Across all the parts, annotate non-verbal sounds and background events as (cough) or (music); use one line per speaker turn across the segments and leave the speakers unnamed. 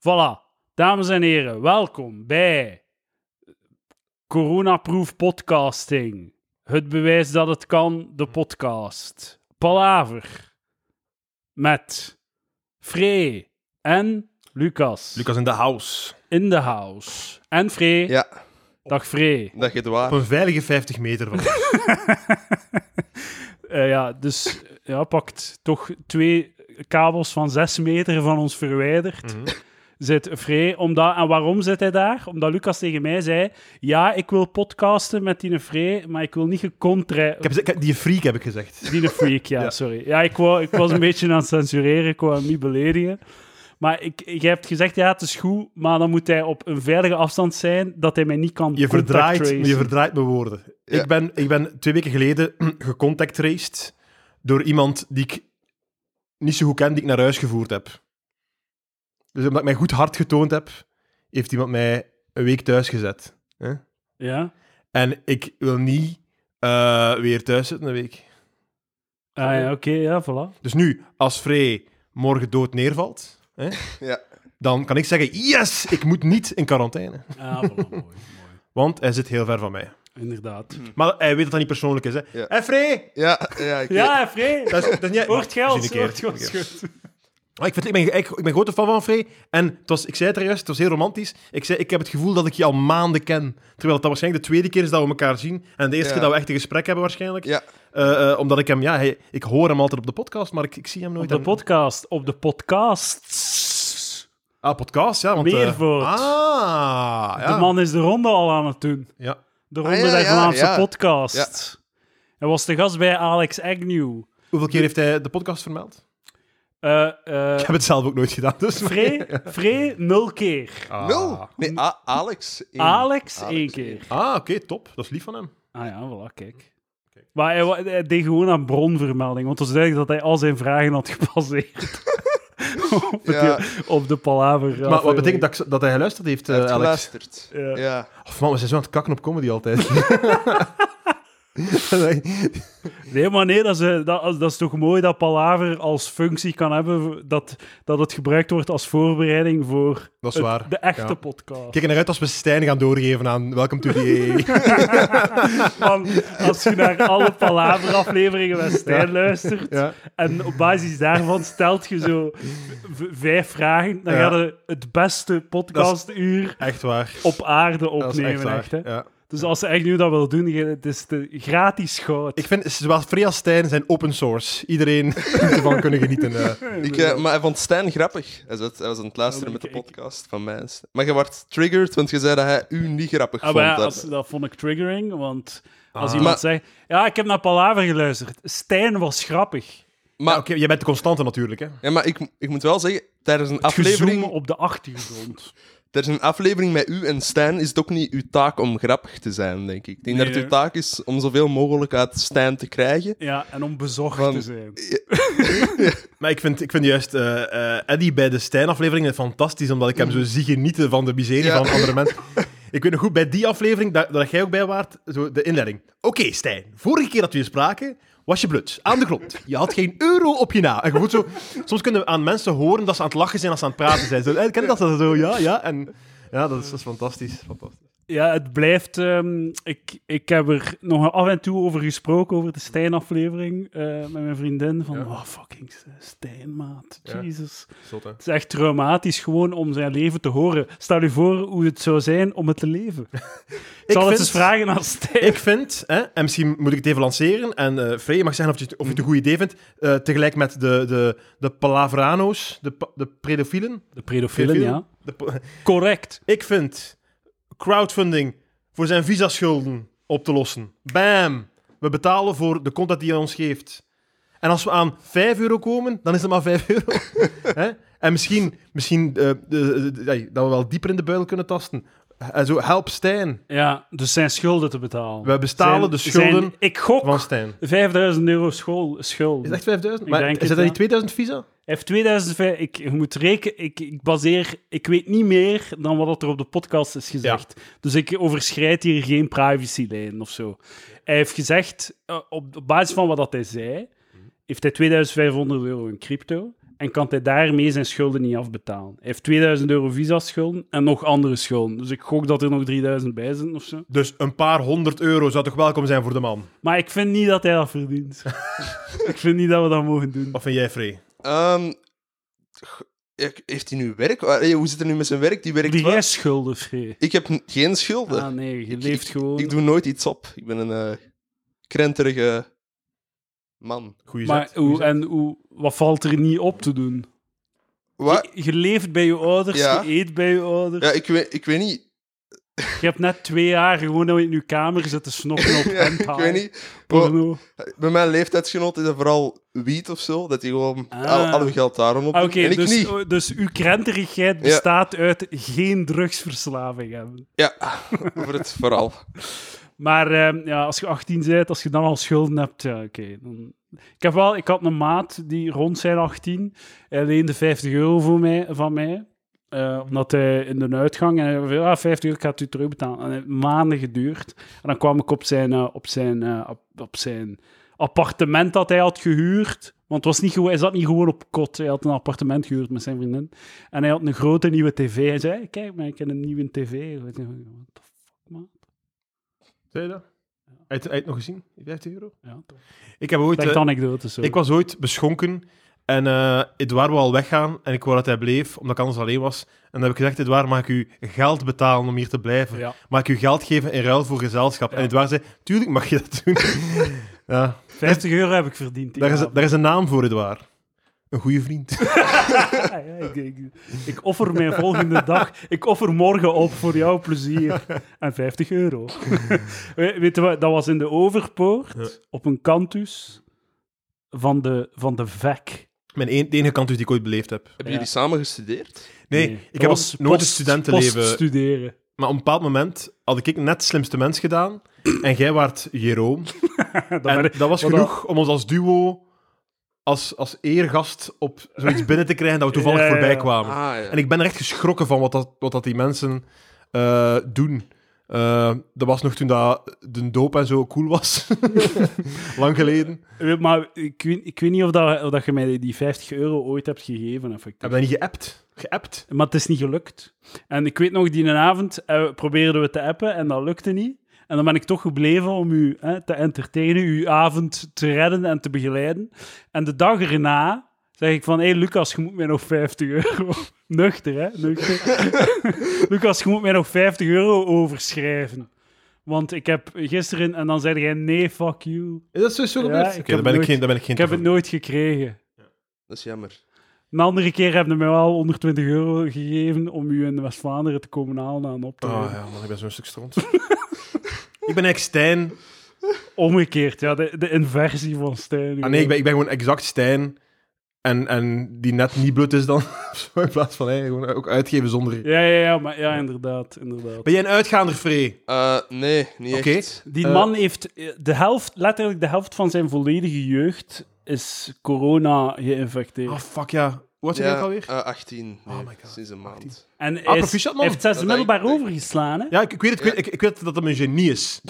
Voilà. Dames en heren, welkom bij Coronaproof Podcasting. Het bewijs dat het kan, de podcast. Palaver. Met Free en Lucas.
Lucas in de house.
In the house. En Free.
Ja,
Dag Free.
dat je het
Op
waar.
een veilige 50 meter van. ons.
Eh, ja, dus ja, pakt toch twee kabels van zes meter van ons verwijderd. Zit Free. Omdat, en waarom zit hij daar? Omdat Lucas tegen mij zei: Ja, ik wil podcasten met die Free, maar ik wil niet gecontra.
ik heb, gezegd- ik- die freak heb ik gezegd.
Die freak, ja,
Ja.
sorry. Ja, ik, wou, ik was een beetje aan het censureren, ik wou hem niet beledigen. Maar ik, ik heb gezegd, ja, het is goed, maar dan moet hij op een veilige afstand zijn dat hij mij niet kan
Je
contact
verdraait,
tracen.
je verdraait mijn woorden.
Ja.
Ik, ben, ik ben twee weken geleden (clears throat) gecontact traced door iemand die ik niet zo goed ken, die ik naar huis gevoerd heb. Dus omdat ik mij goed hard getoond heb, heeft iemand mij een week thuis gezet. Hè?
Ja?
En ik wil niet eh, weer thuis zitten een week.
Ah, ja, oké, ja,
(laughs)
voilà.
Dus nu, als Frey morgen dood neervalt, hè,
Ja.
dan kan ik zeggen, yes, ik moet niet in quarantaine.
Ah, voilà, mooi, mooi.
Want hij zit heel ver van mij.
Inderdaad.
Maar hij weet dat dat niet persoonlijk is. Hè?
Ja.
Hé, Frey!
Ja, ja, ik weet-
Ja, Free,
Dat is, dat is
(laughs)
niet...
hoort
Maar,
geld,
misschien een
hoort
keer,
geld.
misschien een keer. Maar Ik, vind, ik, ben, ik, ik ben grote fan van Frey. En het was, ik zei het er juist, het was heel romantisch. Ik zei, ik heb het gevoel dat ik je al maanden ken. Terwijl het dan waarschijnlijk de tweede keer is dat we elkaar zien. En de eerste
Ja.
keer dat we echt een gesprek hebben waarschijnlijk.
ja.
Eh, eh, omdat ik hem... Ja, hij- ik hoor hem altijd op de podcast, maar ik, ik zie hem
Op
nooit.
de
en-
podcast, op de podcasts.
Ah, podcast, ja. Want, eh,
Meervoort.
ah, ja.
De man is de ronde al aan het doen.
Ja.
De ronde
Ah, ja,
der
ja,
Vlaamse
ja.
podcast. Hij was de gast bij Alex Agnew.
Hoeveel keer heeft hij de podcast vermeld?
Eh eh
Ik heb het zelf ook nooit gedaan, dus...
(laughs) Free, Free nul keer.
Ah.
Nul. Nee, A- Alex. één.
Alex,
Alex,
één keer.
Ah, oké, top. Dat is lief van hem.
Ah ja, voilà, kijk. Maar hij, wa- hij deed gewoon aan bronvermelding, want het was duidelijk dat hij al zijn vragen had (laughs) gepasseerd. op, het-
Ja.
op de palaver.
maar wat betekent dat, ik- dat hij geluisterd heeft, eh,
Hij heeft
Alex?
geluisterd.
Ja.
Ja.
Of man, we zijn zo aan het kakken op comedy
(laughs)
altijd.
Nee, maar nee, dat is, eh, dat, dat is toch mooi dat palaver als functie kan hebben, dat, dat het gebruikt wordt als voorbereiding voor
dat is
het-
waar.
de echte
Ja.
podcast.
Kijk er naar uit als we Stijn gaan doorgeven aan Welcome
(laughs)
to the AA.
Man, als je naar alle palaver-afleveringen van Stijn luistert,
ja.
En op basis daarvan stelt je zo v- vijf vragen. Dan
Ja.
ga je het beste podcastuur
Echt waar.
op aarde
Dat is
opnemen.
echt waar.
echt, hè?
Ja.
Dus als ze echt nu dat wil doen, je- het is de gratis goud.
Ik vind, zowel Free als Stijn zijn open source. Iedereen (laughs) moet ervan kunnen genieten. eh.
Ik, eh, maar hij vond Stijn grappig. Hij, zat, hij was aan het luisteren
Ja,
met
maar
de
ik- ik-
podcast van mij. en Stijn. Maar je werd triggered, want je zei dat hij u niet grappig
Ah,
vond.
maar ja,
hè.
als, dat vond ik triggering, want als
Ah.
iemand
Maar-
zegt... Ja, ik heb naar Palaver geluisterd. Stijn was grappig.
Maar,
Ja, oké, jij bent de constante natuurlijk. Hè.
ja, maar ik, ik moet wel zeggen, tijdens een,
Het gezoem
aflevering,
op de achtergrond.
tijdens een aflevering met u en Stijn is het ook niet uw taak om grappig te zijn, denk ik. Ik denk dat
Nee,
het uw
hè?
taak is om zoveel mogelijk uit Stijn te krijgen.
Ja, en om bezorgd
Van-
te zijn.
Maar ik vind, ik vind juist eh, eh, Eddie bij de Stijn-aflevering fantastisch, omdat ik hem zo zie genieten van de miserie
Ja.
van andere mensen. Ik weet nog goed, bij die aflevering, dat, dat jij ook bij waart, zo de inleiding. Oké, Stijn, vorige keer dat we je spraken, was je blut, aan de grond. Je had geen euro op je na. En je voelt zo, soms kunnen we aan mensen horen dat ze aan het lachen zijn als ze aan het praten zijn. Zo, eh, ken je dat? Dat Zo, ja, ja. En, ja, dat is, dat is fantastisch. fantastisch.
Ja, het blijft. ehm, ik, ik heb er nog af en toe over gesproken, over de Stijn-aflevering eh, met mijn vriendin. Van,
Ja.
oh fucking Stijn, maat.
Ja.
Jezus. Het is echt traumatisch gewoon om zijn leven te horen. Stel u voor hoe het zou zijn om het te leven. ik zal het
vind-
eens vragen aan Stijn.
Ik vind, hè, en misschien moet ik het even lanceren, en eh Frey, je mag zeggen of je, het- of je het een goed idee vindt, eh, tegelijk met de, de, de palaveranos, de, pa- de pedofielen.
De pedofielen, ja.
De pa-
Correct.
ik vind crowdfunding voor zijn visa-schulden op te lossen. Bam! We betalen voor de content die hij ons geeft. En als we aan 5 euro komen, dan is het maar 5 (laughs) euro. Hè? En misschien, misschien eh, de- de- de- ja, dat we wel dieper in de buil kunnen tasten. En zo, help Stijn.
Ja, dus zijn schulden te betalen.
We bestalen
Zijn-
de schulden
zijn- ik gok
van Stijn.
5000 euro school, schuld.
Is het echt 5000?
Ik
Maar
denk
is
het,
dat
ja.
niet 2000 visa?
F 2005, ik, je moet rekenen, ik, ik baseer, ik weet niet meer dan wat er op de podcast is gezegd. Dus ik overschrijd hier geen privacylijn of zo. Hij heeft gezegd, eh, op, op basis van wat dat hij zei, heeft hij 2500 euro in crypto. en kan hij daarmee zijn schulden niet afbetalen. Hij heeft 2000 euro visa-schulden en nog andere schulden. Dus ik gok dat er nog 3000 bij zijn of zo.
Dus een paar honderd euro zou toch welkom zijn voor de man?
Maar ik vind niet dat hij dat
(laughs)
verdient. ik vind niet dat we dat mogen
Oh,
doen.
Wat vind jij, Free?
Ehm, g- ik- heeft hij nu werk? Eh, hoe zit het nu met zijn werk? Die werkt
Die
wel.
jij schulden, Free.
Ik heb n- geen schulden.
Ah nee, je
Ik-
leeft
ik-
gewoon.
Ik doe nooit iets op. Ik ben een eh, krenterige man.
Goeie
maar
zet, goeie
hoe,
zet.
en hoe, wat valt er niet op te doen?
Wat?
Je, je leeft bij je ouders,
Ja.
je eet bij je ouders.
Ja, ik weet, ik weet niet.
Je hebt net twee jaar gewoon in je kamer zitten snokken op
(laughs) Ja,
en
ik weet niet. Wel,
Porno.
bij mijn leeftijdsgenoot is dat vooral wiet of zo. Dat hij gewoon
Ah.
al, al hun geld daarom op
Ah,
doet.
Oké,
En ik
dus,
niet. (laughs)
oh, dus uw krenterigheid bestaat uit geen drugsverslaving hebben.
Ja, over het verhaal.
Maar ehm, ja, als je 18 bent, als je dan al schulden hebt, ja, oké. dan- Ik, heb wel- ik had een maat die rond zijn 18 hij leende 50 euro voor mij, van mij. Eh, omdat hij in de uitgang en hij zei, ah, 50 euro ik ga het u terugbetalen. En het heeft maanden geduurd. En dan kwam ik op zijn, eh, op, zijn, eh, op, op zijn appartement dat hij had gehuurd. Want het was niet, gewoon- hij zat niet gewoon op kot. Hij had een appartement gehuurd met zijn vriendin. En hij had een grote nieuwe tv. Hij zei, "Hey, kijk maar, ik heb een nieuwe tv. Ik dacht, What the fuck, man?
Zei je dat? Heb je het- heb je het nog gezien? 15 euro?
Ja, toch.
Ik heb ooit...
Slechte
eh,
anekdotes. zo.
Ik was ooit beschonken en eh Edouard wou al weggaan en ik wou dat hij bleef, omdat ik anders alleen was. En dan heb ik gezegd, Edouard, mag ik u geld betalen om hier te blijven?
Ja.
Mag ik u geld geven in ruil voor gezelschap?
Ja.
En Edouard zei, tuurlijk mag je
(laughs)
dat doen. ja,
50 euro heb ik verdiend. die
daar, is,
avond.
daar is een naam voor, Edouard. Een goede vriend.
(laughs) Ja, ja, ik, ik, ik offer mijn volgende dag, ik offer morgen op voor jouw plezier. En 50
(laughs)
euro. We- Weet je wat, dat was in de Overpoort,
Ja.
op een kantus van de, van de E VEC.
Mijn een, de enige kant dus die ik ooit beleefd heb.
Hebben
Ja.
jullie samen gestudeerd?
Nee,
dat
ik heb ook
was
nooit
post-
een studentenleven...
poststuderen. (laughs)
Maar op een bepaald moment had ik net slimste mens gedaan en jij waart Jeroen.
Dat
En
werd-
dat was
wat
genoeg om ons als duo, als, als eergast, op
(laughs)
zoiets binnen te krijgen dat we toevallig
Ja, ja, ja.
voorbij kwamen.
Ah, ja.
En ik ben er echt geschrokken van wat dat, wat dat die mensen eh, doen. Eh, dat was nog toen dat de doop en zo cool was. (laughs) Lang geleden.
Eh, Maar ik weet, ik weet niet of, dat, of dat je mij die 50 euro ooit hebt gegeven. Effectief.
Hebben we niet geappt? Geappt?
Maar het is niet gelukt. En ik weet nog, die ene avond eh, probeerden we te appen en dat lukte niet. En dan ben ik toch gebleven om u hè, te entertainen, uw avond te redden en te begeleiden. En de dag erna zeg ik van, hé hey, Lucas, je moet mij nog 50 euro... (laughs) Nuchter, hè? Nuchter. (laughs) Lucas, je moet mij nog 50 euro overschrijven. Want ik heb gisteren... En dan zei jij, nee, fuck you.
Is dat sowieso
Ja,
gebeurd?
ik
Oké,
heb
daar ben ik
nooit-
geen... Daar ben ik geen
Ik heb het nooit gekregen.
Dat is jammer.
Een andere keer hebben ze mij wel 120 euro gegeven om u in West-Vlaanderen te komen halen en op te
Oh
nemen.
ja, man, ik ben zo'n stuk stront. (laughs) ik ben eigenlijk Stijn.
Omgekeerd, ja, de, de inversie van Stijn.
Ah nee, ik ben, ik ben gewoon exact Stijn. En, en die net niet blut is dan. (laughs) Zo, in plaats van hey, gewoon ook uitgeven zonder...
Ja, ja, ja, maar ja, inderdaad, inderdaad.
Ben jij een uitgaander, Free?
Eh, nee, niet
Oké.
echt.
Die
Eh,
man heeft eh, de helft, letterlijk de helft van zijn volledige jeugd is corona geïnfecteerd.
Ah,
Oh, fuck ja. Wat is
Ja,
dat alweer?
eh, 18.
Oh
Nee,
my God,
Sinds een maand.
18.
en hij
ah,
is-
proficiat, man.
hij heeft zes
Dat
middelbaar
denk ik.
overgeslaan, hè?
Ja, ik, ik weet het. Ik, weet, ik, ik weet dat dat een genie is.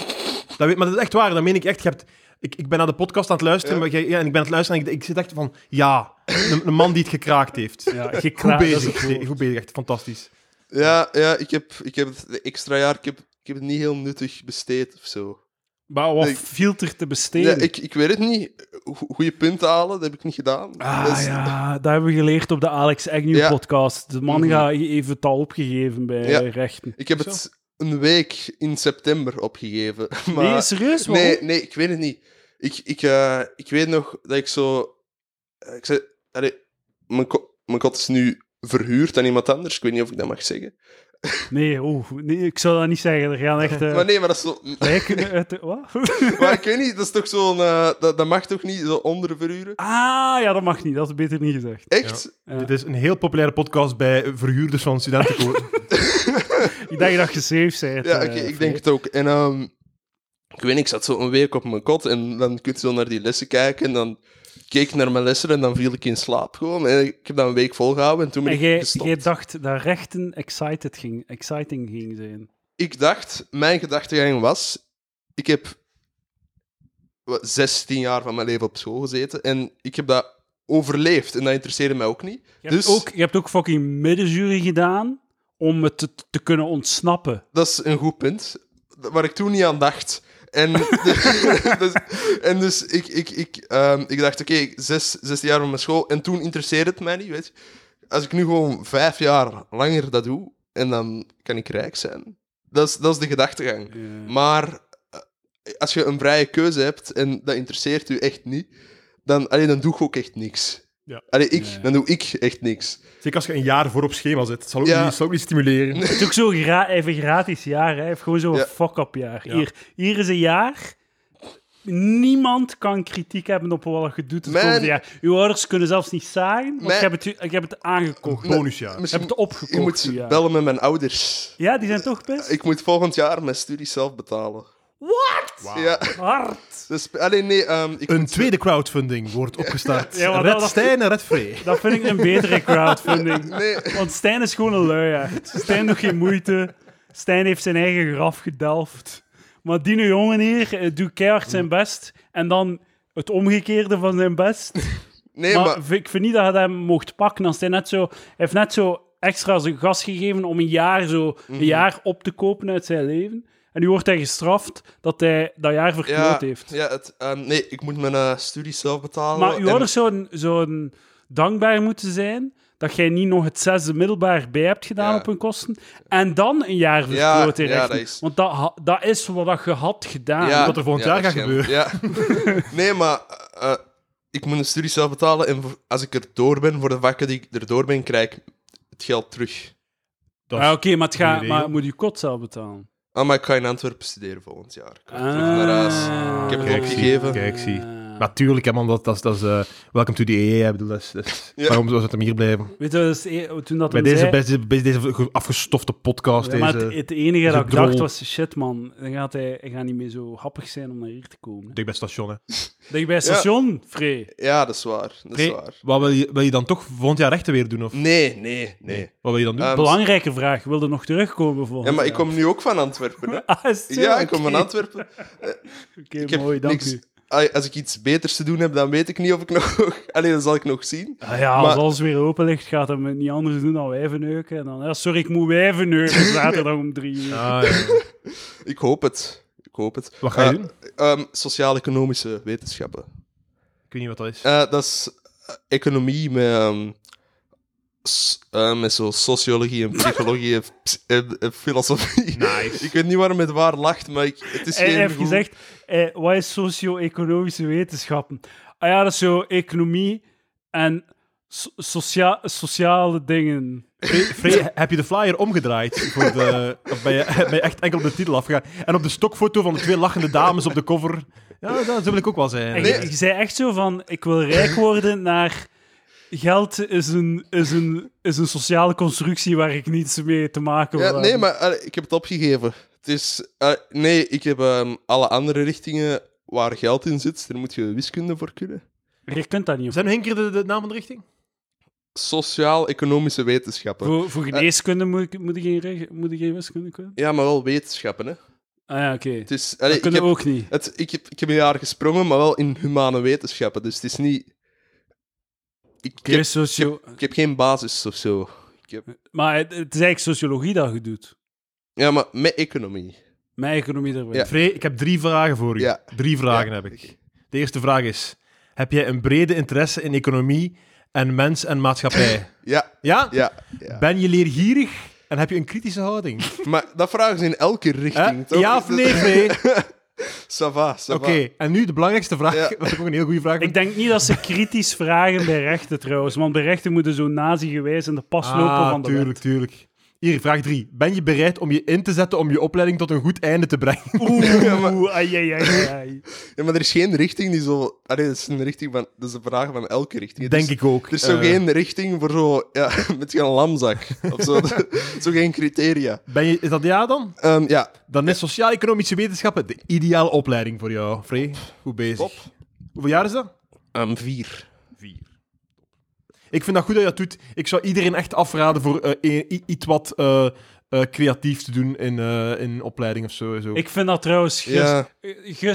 Dat weet, maar dat is echt waar. Dat meen ik echt. Je hebt, ik, ik ben naar de podcast aan het luisteren.
Ja.
Maar jij- ja, en ik ben aan het luisteren. En ik, ik zit echt van... Ja, een, een man die het gekraakt heeft.
Ja,
Goed
gekraakt, dat is
bezig.
het woord.
Steve, Goed bezig. Echt fantastisch.
Ja, ja ik, heb, ik heb het de extra jaar. Ik heb, ik heb het niet heel nuttig besteed of zo.
Maar wat
Nee.
viel er te besteden?
Ja, ik, ik weet het niet. Goede punten halen, dat heb ik niet gedaan. Dat
Ah
is-
ja, dat hebben we geleerd op de Alex Agnew
Ja.
podcast. De man
Mhm.
ga- heeft het al opgegeven bij
Ja.
rechten.
Ik heb
Zo.
het een week in september opgegeven. (laughs) Maar...
nee, serieus? Waarom?
Nee, nee, ik weet het niet. Ik, ik, eh, ik weet nog dat ik zo. eh, ik zei, allee, mijn, ko- mijn kot is nu verhuurd aan iemand anders. Ik weet niet of ik dat mag zeggen.
Nee, oh, nee, ik zou dat niet zeggen. Er gaan echt eh,
(laughs) Maar nee, maar dat is zo.
lijken uit de... Wat?
Maar ik weet niet, dat is toch zo'n. eh, dat, dat mag toch niet, zo onderverhuren?
Ah, ja, dat mag niet. Dat is beter niet gezegd.
Echt?
Ja.
Dit is een heel populaire podcast bij verhuurders
(laughs)
van studentenkoor.
Ik denk dat je safe bent.
Ja,
eh,
oké, ik
Freek.
denk het ook. En ehm, ik weet niet, ik zat zo een week op mijn kot en dan kun je zo naar die lessen kijken en dan keek ik naar mijn lessen en dan viel ik in slaap gewoon. En ik heb dat een week volgehouden en toen ben
En
ik
jij,
gestopt.
jij dacht dat rechten excited ging, exciting ging zijn.
ik dacht, mijn gedachtegang was, ik heb wat, 16 jaar van mijn leven op school gezeten en ik heb dat overleeft. En dat interesseerde mij ook niet.
Je,
dus
hebt ook, je hebt ook fucking middenjury gedaan om het te, te kunnen ontsnappen.
dat is een goed punt. Waar ik toen niet aan dacht. En (laughs) dus, en dus ik, ik, ik, ehm, ik dacht, oké, zes, zes jaar van mijn school. En toen interesseerde het mij niet, weet je. Als ik nu gewoon vijf jaar langer dat doe, en dan kan ik rijk zijn. Dat is, dat is de gedachtegang. Maar eh, als je een vrije keuze hebt en dat interesseert u echt niet, dan, allee, dan doe ik ook echt niks.
Ja.
Allee, ik,
Nee.
Dan doe ik echt niks.
Zeker als je een jaar voor op schema zit. Het zal ook,
Ja.
niet, zal ook niet stimuleren.
Eh, Het is ook zo'n gra even gratis jaar. Hè. Hij heeft gewoon zo'n
Ja.
fuck-up jaar.
Ja.
Hier, hier is een jaar. Niemand kan kritiek hebben op wat je doet het
Mijn-
komende jaar. Uw ouders kunnen zelfs niet zagen, want
Mijn-
ik, heb het, ik heb het aangekocht. Ik
Bonusjaar.
Misschien-
heb het opgekocht.
ik moet
uw jaar.
bellen met mijn ouders.
Ja, die zijn toch best
Ik moet volgend jaar mijn studie zelf betalen.
Wauw.
Ja,
hard.
dus, alleen nee, ehm, ik
Een
moet-
tweede crowdfunding wordt opgestart.
Ja, maar
Red
dat-
Stijn en Red Frey.
Dat vind ik een betere crowdfunding.
(laughs) Nee,
Want Stijn is gewoon een luiaard. Stijn doet geen moeite. Stijn heeft zijn eigen graf gedelft. Maar die jongen hier eh, doet keihard zijn best. En dan het omgekeerde van zijn best.
nee
maar,
maar,
v- ik vind niet dat hij dat mocht pakken. Als hij, net zo, hij heeft net zo extra zijn gas gegeven om een jaar, zo,
Mhm.
een jaar op te kopen uit zijn leven. En nu wordt hij gestraft dat hij dat jaar
ja,
verkloot heeft.
ja het, ehm, nee, ik moet mijn eh, studie zelf betalen.
Maar uw
en-
ouders zouden, zouden dankbaar moeten zijn dat jij niet nog het zesde middelbaar bij hebt gedaan
Ja.
op hun kosten. En dan een jaar verkloot in
ja,
rechten.
dat is-
Want dat, ha- dat is wat dat je had gedaan.
ja,
Ah, wat er volgend
ja,
jaar gaat
waarschijnlijk.
(laughs)
Ja. nee, maar eh, eh, ik moet mijn studie zelf betalen en voor- als ik er door ben, voor de vakken die ik er door ben, krijg ik het geld terug.
Dat
Ah, Oké, maar, het gaat-
goede regel.
maar je moet je kot zelf betalen.
Ah, maar ik ga in Antwerpen studeren volgend jaar. Ik ga
Ah.
terug naar huis. Ik heb
Kijk,
opgegeven.
zie. Kijk, zie.
Ah.
Natuurlijk, hè, man. Dat, dat, is- dat is... eh, welcome to the EE. Ik bedoel, dat is... dat is-
Ja.
Waarom zou het hem hier blijven?
Weet je, dat is e- toen dat
Bij
hem
deze,
zei-
bij deze, bij deze afgestofte podcast.
Ja, maar
deze...
het, het enige
deze
dat ik
drol.
dacht was, shit man, dan gaat hij, hij gaat niet meer zo happig zijn om naar hier te komen.
Dik bij het station, hè.
Dat je bij het station, Free.
Ja, dat is waar. Dat is
Nee,
waar.
wat wil je, wil je dan toch volgend jaar rechten weer doen? Of?
Nee, nee, nee.
Wat wil je dan doen?
Ehm,
Belangrijke vraag, wil er nog terugkomen
ja,
volgend
maar ik
jaar?
kom nu ook van Antwerpen. Hè.
Ah, is het (laughs) zo?
Ja, ik kom
Oké.
van Antwerpen.
Oké,
Ik heb
mooi, dank
niks-
u.
Ai, Als ik iets beters te doen heb, dan weet ik niet of ik (laughs) nog... Alleen dat zal ik nog zien.
Ah ja, als
Maar-
alles weer open ligt, gaat hij het niet anders doen dan wijven neuken. En dan, ja, sorry, ik moet wijven
(laughs)
neuken zaterdag om drie uur. Eh, (laughs)
Ah, ja.
Ik hoop het. Ik hoop het.
Wat ga
Ah.
je
Eh,
doen?
ehm, Sociaal-economische wetenschappen.
Ik weet niet wat dat
Ah.
is.
Eh, dat is eh, economie met, ehm, s- eh, met zo sociologie en psychologie en, ps- en- en filosofie.
Nice.
(laughs) Ik weet niet waarom het waar lacht, maar ik, het is
Hij
geen
heeft
goed-
gezegd, eh, wat is socio-economische wetenschappen? Ah ja, dat is zo economie en so- socia- sociale dingen.
Free- Free, heb je de flyer omgedraaid? Voor de, of ben, je, (laughs) ben je echt enkel op de titel afgegaan? En op de stokfoto van de twee lachende dames op de cover. Ja, dat wil ik ook wel zijn.
En
Nee.
je, je zei echt zo van, ik wil rijk worden naar... Geld is een, is, een, is een sociale constructie waar ik niets mee te maken wil
Ja, nee,
hebben.
maar eh, ik heb het opgegeven. Het is... eh, nee, ik heb ehm, alle andere richtingen waar geld in zit. Daar moet je wiskunde voor kunnen.
Je kunt dat niet.
Zijn nog één keer de, de naam van de richting?
Sociaal-economische wetenschappen.
Voor, voor geneeskunde moet, ik, moet, ik geen, reg- moet ik geen wiskunde kunnen?
Ja, maar wel wetenschappen, hè.
Ah ja, oké.
Het is, allee,
Dat
ik,
kunnen
heb,
we ook niet.
het, ik, heb, ik heb een jaar gesprongen, maar wel in humane wetenschappen. Dus het is niet... Ik, ik
Oké,
heb,
socio...
ik heb geen basis of zo.
Maar het, het is eigenlijk sociologie dat je doet.
Ja, maar met economie.
Mijn economie erbij.
Ja.
Free, ik heb drie vragen voor u.
Ja.
Drie vragen
Ja.
heb ik. De eerste vraag is: heb jij een brede interesse in economie en mens en
(laughs)
maatschappij?
Ja,
Ja?
ja, ja.
Ben je leergierig en heb je een kritische
(laughs)
houding?
Maar dat vragen ze in elke richting,
Hè?
toch?
Eh? Ja of nee, Free?
(laughs) Ça va, ça va.
Oké, en nu de belangrijkste vraag,
Ja.
(laughs) wat ik ook een heel goede vraag
Ik denk niet dat ze kritisch vragen bij rechten trouwens. Want bij rechten moeten zo nazi-gewijs in de pas lopen
Ah,
van de
tuurlijk, tuurlijk. Hier, vraag 3. Ben je bereid om je in te zetten om je opleiding tot een goed einde te (laughs) brengen?
wet. (laughs) Oeh, oeh, ai, ai, ai, ai.
Ja, maar er is geen richting die zo... Allee, dat is een richting van... Dat is een vraag van elke richting. dus Het
Denk
is-
ik ook.
Er is zo
Eh,
geen richting voor zo... Ja, (laughs) met geen lamzak. Of
(laughs)
zo. (laughs) zo geen criteria.
Ben je, is dat ja dan?
Ehm, ja,
Dan is sociaal-economische wetenschappen de ideale opleiding voor jou, Free. Goed bezig.
Top.
Hoeveel jaar is dat?
ehm vier.
Vier. Ik vind dat goed dat je dat doet. Ik zou iedereen echt afraden voor eh, i- i- iets wat eh, eh, creatief te doen in, eh, in opleiding of zo. en zo.
Ik vind dat trouwens ges
Ja.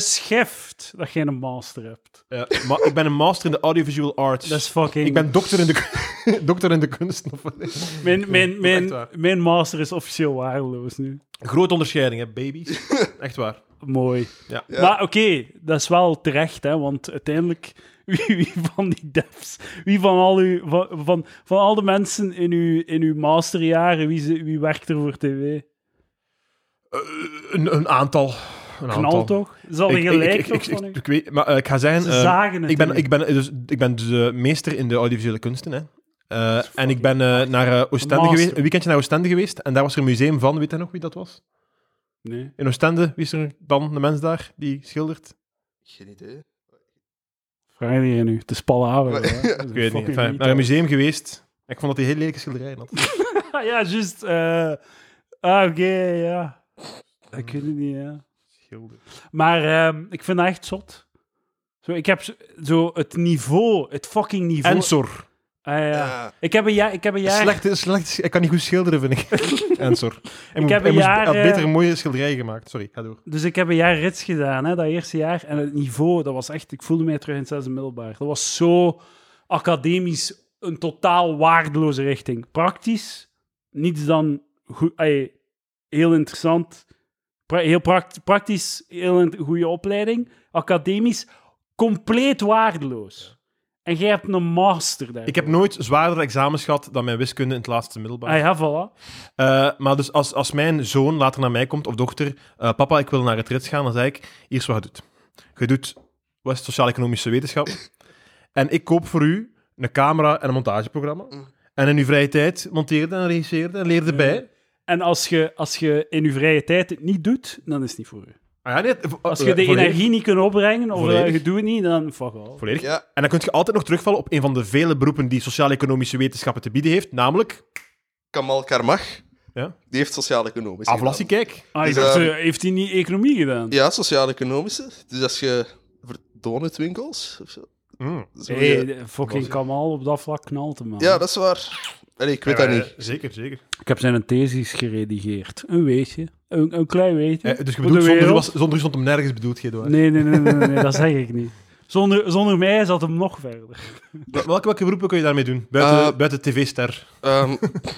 geschift dat je een master hebt.
Ja, Eh, maar ik ben een master in de audiovisual arts.
Dat is fucking...
Ik ben dokter in de, kun- (laughs) dokter in de kunsten. Of...
Mijn, mijn,
Echt
mijn,
waar.
mijn master is officieel waardeloos nu.
Grote onderscheiding, hè, baby's. (laughs) Echt waar.
Mooi.
Ja.
Ja.
Maar oké, dat is wel terecht, hè, want uiteindelijk, (laughs) wie, wie van die devs, wie van al, uw, van, van, van al de mensen in uw, in uw masterjaren, wie, ze- wie werkt er voor tv?
Eh, een, een aantal. Een aantal.
Knal toch? Zal
Ik,
je
ik,
gelijk
ik,
toch
ik,
van
ik-
u?
ik weet, maar eh, ik ga zeggen,
Ze
eh,
zagen het
ik ben,
niet.
ik ben dus, ik ben dus eh, meester in de audiovisuele kunsten. Hè. Eh,
is
en
fucking
ik ben eh, naar eh, Oostende
Master.
geweest, een weekendje naar Oostende geweest. En daar was er een museum van. Weet jij nog wie dat was?
Nee.
In Oostende, wie is er dan de mens daar die schildert?
Geen idee.
Vraag je hier nu. Het is Palaver.
Maar-
hè. Dat is een
(laughs) Ik weet niet.
fucking
Enfin, naar
retard.
een museum geweest. Ik vond dat hij heel lelijke schilderijen had.
Ah, ja, juist. eh, ah, oké, ja. Ik weet het niet, ja.
Schilder.
Maar ehm, ik vind dat echt zot. Zo, ik heb zo- zo het niveau, het fucking niveau.
Ensor.
Ah, ja.
Ja.
Ik heb een jaar... Ik heb een jaar...
Slecht, slecht, ik kan niet goed schilderen, vind
(laughs)
ik. Ensor. Ik,
heb een jaar,
had
eh,
beter een mooie schilderij gemaakt. Sorry, ga door.
Dus ik heb een jaar rits gedaan, hè, dat eerste jaar. En het niveau, dat was echt... Ik voelde mij terug in het zesde middelbaar. Dat was zo academisch een totaal waardeloze richting. Praktisch, niets dan... Goed, ey, heel interessant. Pra- heel pract- praktisch, heel in- goede opleiding. Academisch, compleet waardeloos. En jij hebt een master daar.
Ik heb nooit zwaardere examens gehad dan mijn wiskunde in het laatste middelbaar.
Ah ja, voilà.
Eh, maar dus als, als mijn zoon later naar mij komt, of dochter, eh, papa, ik wil naar het rits gaan, dan zeg ik, hier is wat je doet. Je doet wat is sociaal-economische
(laughs)
wetenschap. en ik koop voor u een camera en een montageprogramma.
Mm.
En in uw vrije tijd monteerde en regisseerde en leerde bij.
En als je, als je in je vrije tijd het niet doet, dan is het niet voor je.
Ah, ja, nee, het-
Als je de
volledig-
energie niet kunt opbrengen, of eh,
Volledig.
je doet het niet, dan fuck off.
Volledig.
Eh, Ja.
En dan kun je altijd nog terugvallen op een van de vele beroepen die sociaal-economische wetenschappen te bieden heeft, namelijk
Kamal Karmach.
Ja.
Die heeft sociaal-economische.
aflassie, kijk.
Ah, ik
Dus,
dacht,
eh,
eh, heeft hij niet economie gedaan?
gedaan. Ja, sociaal-economische. Dus als je... voor Donutwinkels of zo.
Mm.
Zo
Hey,
je-
de fucking Kamal op dat vlak knalt hem, man.
Ja, dat is waar. Allee, ik weet dat
Eh,
niet.
Zeker, zeker.
Ik heb zijn thesis geredigeerd. Een weetje. Een, een klein weetje.
Eh, dus je
Voor
bedoelt,
de
zonder, u
wereld.
was, zonder u stond hem nergens bedoeld, Gedo.
Nee, nee, nee, nee, nee, nee, dat zeg ik niet. Zonder, zonder mij zat hem nog
(laughs)
verder.
Welke, welke beroepen kun je daarmee doen? Buiten,
Eh,
buiten tv-ster.
Ehm, (laughs)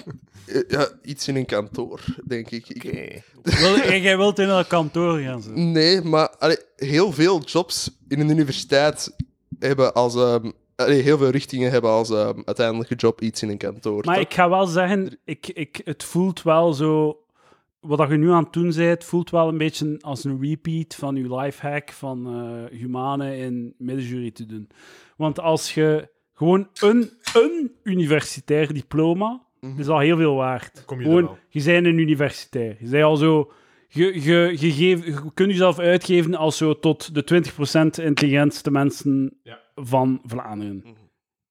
eh, ja, iets in een kantoor, denk ik. Ik-
Wil, en jij wilt in dat kantoor gaan zitten.
Nee, maar allee, heel veel jobs in een universiteit hebben als... ehm, allee, heel veel richtingen hebben als ehm, uiteindelijke job iets in een kantoor.
Maar
toch?
ik ga wel zeggen, ik, ik, het voelt wel zo... Wat dat je nu aan het doen bent, voelt wel een beetje als een repeat van je lifehack van eh humanen in middenjury te doen. Want als je gewoon een, een universitair diploma, is al heel veel waard.
Kom je er
gewoon,
wel.
je bent een universitair. Je bent al zo... Je, je, je, geef- je kunt jezelf uitgeven als zo tot de 20% intelligentste mensen
Ja.
van Vlaanderen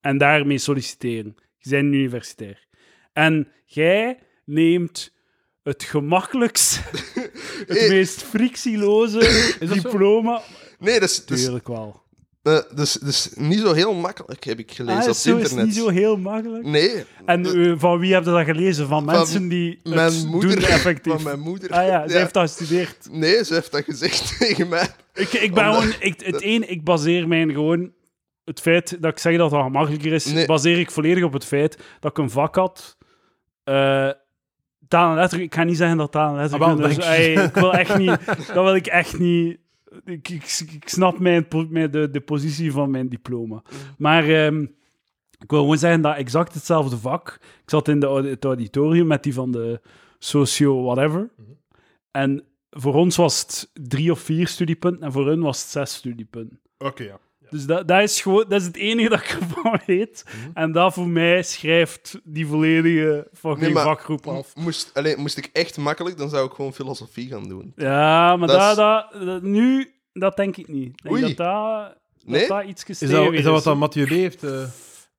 en daarmee solliciteren. Je bent universitair. En jij neemt het
(laughs)
gemakkelijkst, het
Eh.
meest
(laughs)
frictieloze diploma.
Nee, dat is, dat is,
Tuurlijk wel.
eh, dat is- dat is niet zo heel makkelijk, heb ik gelezen
Ah,
op het
zo is
internet.
het niet zo heel makkelijk.
Nee.
En eh, van wie heb je dat gelezen? Van mensen die het
Mijn moeder.
doen effectief.
Van mijn moeder.
Ah ja, ze heeft dat gestudeerd.
Nee, ze heeft dat gezegd (laughs) tegen mij.
Ik, ik ben
Omdat-
gewoon... Ik, het één, ik baseer mijn gewoon... Het feit dat ik zeg dat dat gemakkelijker is,
Nee.
baseer ik volledig op het feit dat ik een vak had... eh, taal en letter... Ik ga niet zeggen dat taal en letter...
Ah,
ik,
wel,
ben er
dank
zo-
je.
ey, ik wil echt niet...
(laughs)
Dat wil ik echt niet... Ik, ik, ik snap mijn, po- mijn, de, de positie van mijn diploma.
Mm.
Maar... ehm, ik wil gewoon zeggen dat exact hetzelfde vak. Ik zat in de, audi- het auditorium met die van de socio-whatever.
Mhm.
En voor ons was het drie of vier studiepunten en voor hun was het zes studiepunten.
Oké, ja.
Dus dat, dat, is gewoon, dat is het enige dat ik (laughs) ervan weet.
Mhm.
En dat voor mij schrijft die volledige fucking
Nee, maar-
vakgroep
Mhm.
af.
Moest, allee, moest ik echt makkelijk, dan zou ik gewoon filosofie gaan doen.
Ja, maar
Dat is-
dat, dat, dat- nu, dat denk ik niet. Ik denk
Oei.
dat dat,
Nee?
dat, dat iets
Is dat,
gesteven
is dat wat dan Mathieu B. heeft? eh?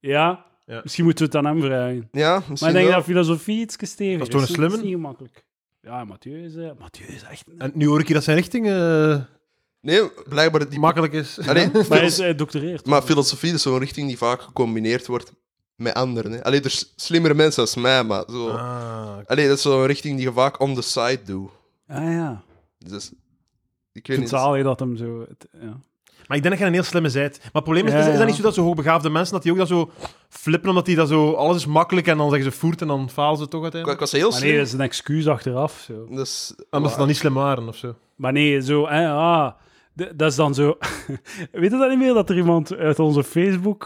Ja.
Ja.
misschien moeten we het aan hem vragen.
Ja,
Maar
misschien
ik denk
wel.
dat filosofie iets gesteven
Dat
is.
is toch
Dat
een slimme?
is niet gemakkelijk. Ja, Mathieu is, eh, Mathieu is echt...
En nu hoor ik hier dat zijn richting eh,
Nee, blijkbaar... Die...
makkelijk is.
Allee,
Maar hij
filos-
is eh, doctoreerd.
maar filosofie is zo'n richting die vaak gecombineerd wordt met anderen. Hè. Allee, er s- slimmere mensen als mij, maar zo...
Ah,
Allee, dat is zo'n richting die je vaak on the side doet.
Ah ja.
Dus, ik
Ik
weet
vind
niet...
het zalig dat hem zo... het- ja.
Maar ik denk dat je een heel slimme zijt. Maar het probleem is,
Ja,
is, is
ja.
dat niet zo dat zo hoogbegaafde mensen, dat die ook dat zo flippen, omdat die dat zo, alles is makkelijk en dan zeggen ze voert en dan falen ze toch
Ik,
uiteindelijk?
was heel
Maar
slim.
nee, dat is een excuus achteraf. Zo.
Dus,
Omdat ze dan niet slim waren of zo.
Maar nee, zo... eh, ah, d- dat is dan zo... (laughs) Weet je dat niet meer, dat er iemand uit onze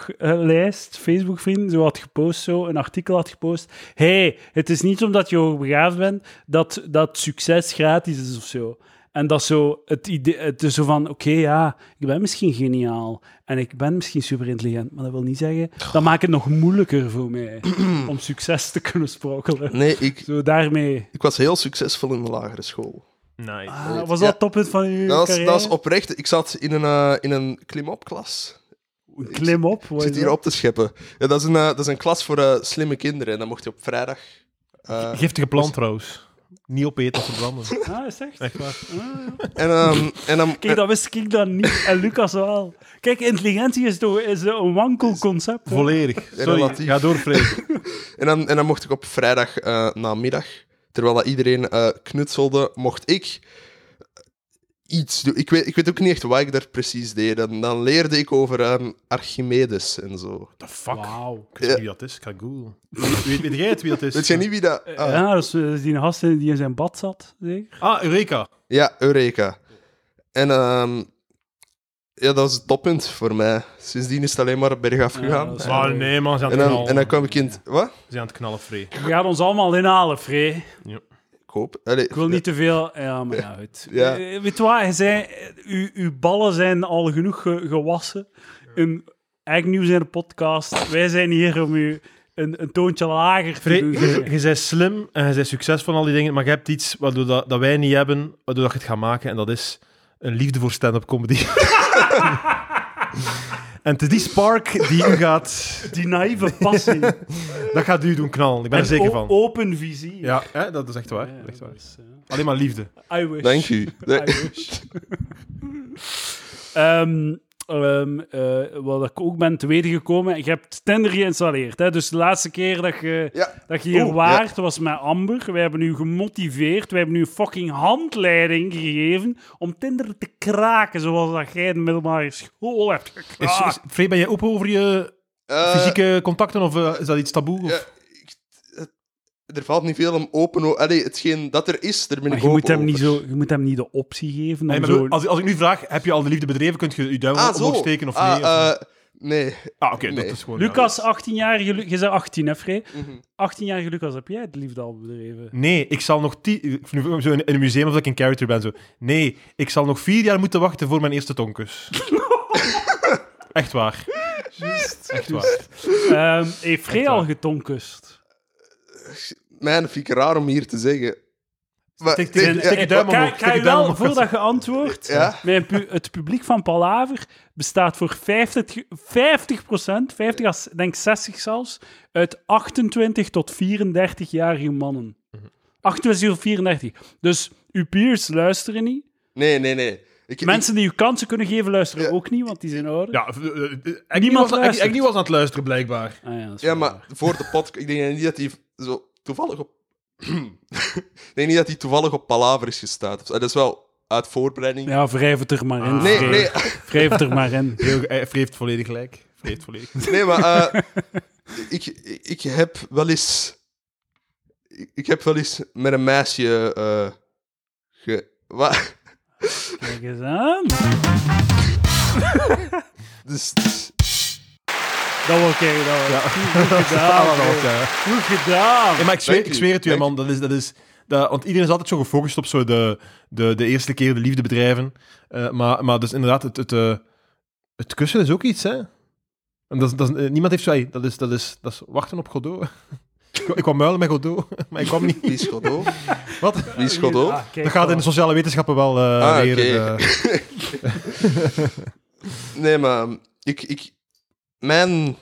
Facebook-lijst, Facebook-vrienden, zo had gepost, zo, een artikel had gepost. hey, het is niet omdat je hoogbegaafd bent dat, dat succes gratis is of zo. En dat is zo het idee, het is zo van, oké, ja, ik ben misschien geniaal en ik ben misschien superintelligent, maar dat wil niet zeggen, dat maakt het nog moeilijker voor mij om succes te kunnen sprokkelen.
Nee, ik,
Zo daarmee.
ik was heel succesvol in de lagere school.
Nice.
Ah, was dat
Ja.
het toppunt van uw
Dat was,
carrière?
dat was oprecht. Ik zat in een, eh, in een klimopklas.
Een Klim op. wat
Ik
is
zit hier
dat?
op te scheppen. Ja, dat, is een, eh, dat is een klas voor eh, slimme kinderen. En dan mocht je op vrijdag... eh,
Giftige plant trouwens. Niet opeten of
(laughs)
verbranden.
(laughs) Ah, is echt?
Echt waar.
en, ehm, en dan...
Kijk, dat wist ik dan niet. En Lucas wel. Kijk, intelligentie is toch is een wankel concept. hè?
Volledig. Sorry,
Relatief.
ga door, Freek.
En dan, en dan mocht ik op vrijdag eh namiddag, terwijl dat iedereen eh, knutselde, mocht ik iets doen. Ik weet, ik weet ook niet echt wat ik daar precies deed. En dan leerde ik over ehm, Archimedes en zo.
The fuck?
Wauw.
Ik weet niet wie dat is, ik ga googlen. Weet, weet jij het wie dat is?
Weet jij niet wie dat... ah,
Ja, dat is, dat is die gast die in zijn bad zat, zeker?
Ah, Eureka.
ja, Eureka. En ehm, ja, dat was het toppunt voor mij. Sindsdien is het alleen maar bergaf
Ja,
gegaan.
dat is waar.
Ah, nee man, ze zijn
en,
aan het
dan, en
knallen.
dan kwam ik in... het- Wat?
Ze zijn aan het knallen, Freek.
We gaan ons allemaal inhalen, Free.
Ik hoop... Allee,
Ik wil niet te veel... Ja, maar ja, goed.
Ja.
Eh, Weet je wat? Je zei, eh, uw, uw ballen zijn al genoeg ge- gewassen. Een eigen nieuws in de podcast. Wij zijn hier om u een, een toontje lager te
Freek,
doen.
je, je bent slim en je bent succesvol en al die dingen, maar je hebt iets waardoor dat, dat wij niet hebben, waardoor dat je het gaat maken, en dat is een liefde voor stand-up comedy. (laughs) en het is die spark die u gaat,
Die naïeve passie. Ik
dat gaat u doen knallen, ik ben er zeker van.
Open visie.
Ja, hè, dat is echt waar.
Ja,
dat is echt waar.
dus, ja.
Alleen maar liefde.
I wish. (laughs)
Dank u.
I wish. (laughs) Ehm, ehm, eh, wat ik ook ben te weten gekomen, je hebt Tinder geïnstalleerd. Hè? Dus de laatste keer dat je,
Ja.
dat je hier
Oeh,
waart, was met Amber. Wij hebben u gemotiveerd, wij hebben u een fucking handleiding gegeven om Tinder te kraken, zoals dat jij in de middelbare school hebt
Is,
gekraakt.
is- Freek, ben jij open over je
Eh,
fysieke contacten, of eh, is dat iets taboe? Of?
Ja, ik- het- er valt niet veel om open... o- Allee, hetgeen dat er is, daar ben
Maar
ik
je
open
moet, hem niet
over.
zo, je moet hem niet de optie geven.
Nee,
om
maar
zo...
als, als ik nu vraag, heb je al de liefde bedreven, kun je je duim
Ah, zo.
omhoog steken of
Ah,
nee? of-
eh, nee.
ah, oké,
nee.
dat is gewoon...
Lucas, 18-jarige... Lu- Je bent 18, hè, Free?
Mhm.
18-jarige Lucas, heb jij het liefde al bedreven?
Nee, ik zal nog ti- ik vind het zo in, in een museum of dat ik een character ben. Zo. Nee, ik zal nog vier jaar moeten wachten voor mijn eerste tonkus.
(laughs)
Echt waar. Echt waar.
Ehm heeft Free
Echt waar.
al getonkust?
Mijn vind ik raar om hier te zeggen. Maar,
Tik-
nee,
tik-
ja,
tik- je duim omhoog,
Kijk,
tik je
je
duim
wel,
omhoog.
voordat je antwoordt,
Ja?
mijn pu- het publiek van Palaver bestaat voor 50, 50 50 als denk 60 zelfs, uit 28 tot 34-jarige mannen.
Mhm.
28 tot 34. Dus uw peers luisteren niet.
nee, nee, nee. Ik,
Mensen die u kansen kunnen geven luisteren
Ja.
ook niet, want die zijn ouder.
Ja, eh, eh, eh, Agnew
Niemand
was,
luistert.
Ag- Agnew was aan het luisteren, blijkbaar.
Ah, ja, dat is
ik- ja,
wel
maar
waar.
voor de podcast... Ik denk niet dat hij zo toevallig op... (clears throat) ik denk niet dat hij toevallig op Palaver is gestaat. Dat is wel uit voorbereiding.
Ja, wrijf het er maar in.
Ah.
nee,
Free.
nee, (laughs)
Wrijf het er maar in.
Heel- Hij heeft volledig gelijk. Hij heeft
(laughs)
volledig gelijk.
nee, maar...
(laughs)
eh, ik, ik, ik heb wel eens... Ik, ik heb wel eens met een meisje... eh ge... Wat?
Kijk eens aan.
(laughs) Dus...
Dat wil kijken, dat wil Goed gedaan.
Ah, wat,
Free.
ja.
Goed gedaan.
Ja, maar ik zweer,
Dank
ik
u.
zweer het u, hè,
Dank
man. Dat is, dat is, dat, want iedereen is altijd zo gefocust op zo de, de, de eerste keer de liefde bedrijven. Eh, maar, maar dus inderdaad, het, het, eh, het kussen is ook iets, hè. En dat, is- dat, is- eh, niemand heeft zo... ey, Dat is, dat, is, dat is wachten op Godot. (laughs) ik, wou- ik kwam muilen met Godot, (laughs) maar ik kwam niet.
Wie is Godot?
Wat?
Wie is Godot?
Ah, kijk
Dat gaat in
wel.
de sociale wetenschappen wel eh
Ah,
leren.
oké.
eh.
Nee, maar ik, ik, mijn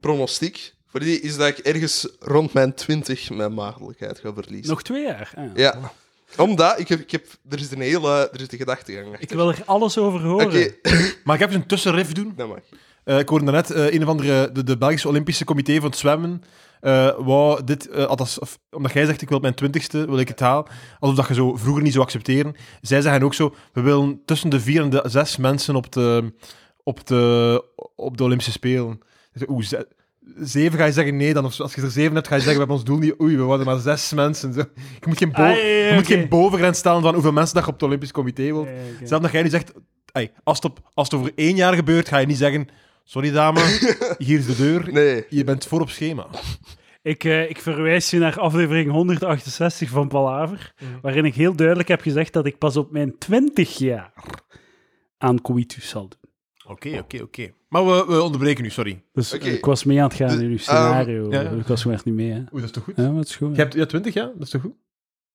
pronostiek voor die is dat ik ergens rond mijn 20 mijn maagdelijkheid ga verliezen.
Nog twee jaar. Ah.
Ja. Omdat, ik heb, ik heb, er is een hele, er is de gedachtegang achter.
Ik wil er alles over horen.
Oké,
Maar ik heb eens dus een tussenriff doen.
(laughs) dat mag.
Eh, ik hoorde daarnet eh een of andere, de, de Belgische Olympische Comité van het Zwemmen. eh wou dit, eh, althans, of- omdat jij zegt, ik wil mijn twintigste, wil ik het halen. Alsof dat je zo vroeger niet zou accepteren. Zij zeggen ook zo, we willen tussen de vier en de zes mensen op de, op de, op de Olympische Spelen. Ik zeg, Oeh, ze- zeven ga je zeggen nee dan. Of zo. als je er zeven hebt, ga je zeggen, we hebben ons doel niet... Oei, we worden maar zes mensen. (laughs) Zo. Je moet geen, bo-
Ah, ja, ja,
je moet
oké.
geen bovengrens stellen van hoeveel mensen dat je op het Olympisch Comité wilt.
Eh, oké.
Zelfs dat jij nu zegt, ey, als, het op, als het over één jaar gebeurt, ga je niet zeggen: Sorry dame,
(laughs)
hier is de deur.
Nee.
Je bent voor op schema.
Ik, eh, ik verwijs je naar aflevering 168 van Palaver,
Mhm.
waarin ik heel duidelijk heb gezegd dat ik pas op mijn 20 jaar aan coitus zal doen.
Oké, oké, oké. Maar we, we onderbreken nu, sorry.
Dus eh,
Oké.
ik was mee aan het gaan
Dus,
in uw scenario.
ja, ja.
Ik was gewoon echt niet mee, hè.
Oeh, dat is toch goed?
Ja, maar het is goed.
Je hebt ja, 20, ja? Dat is toch goed?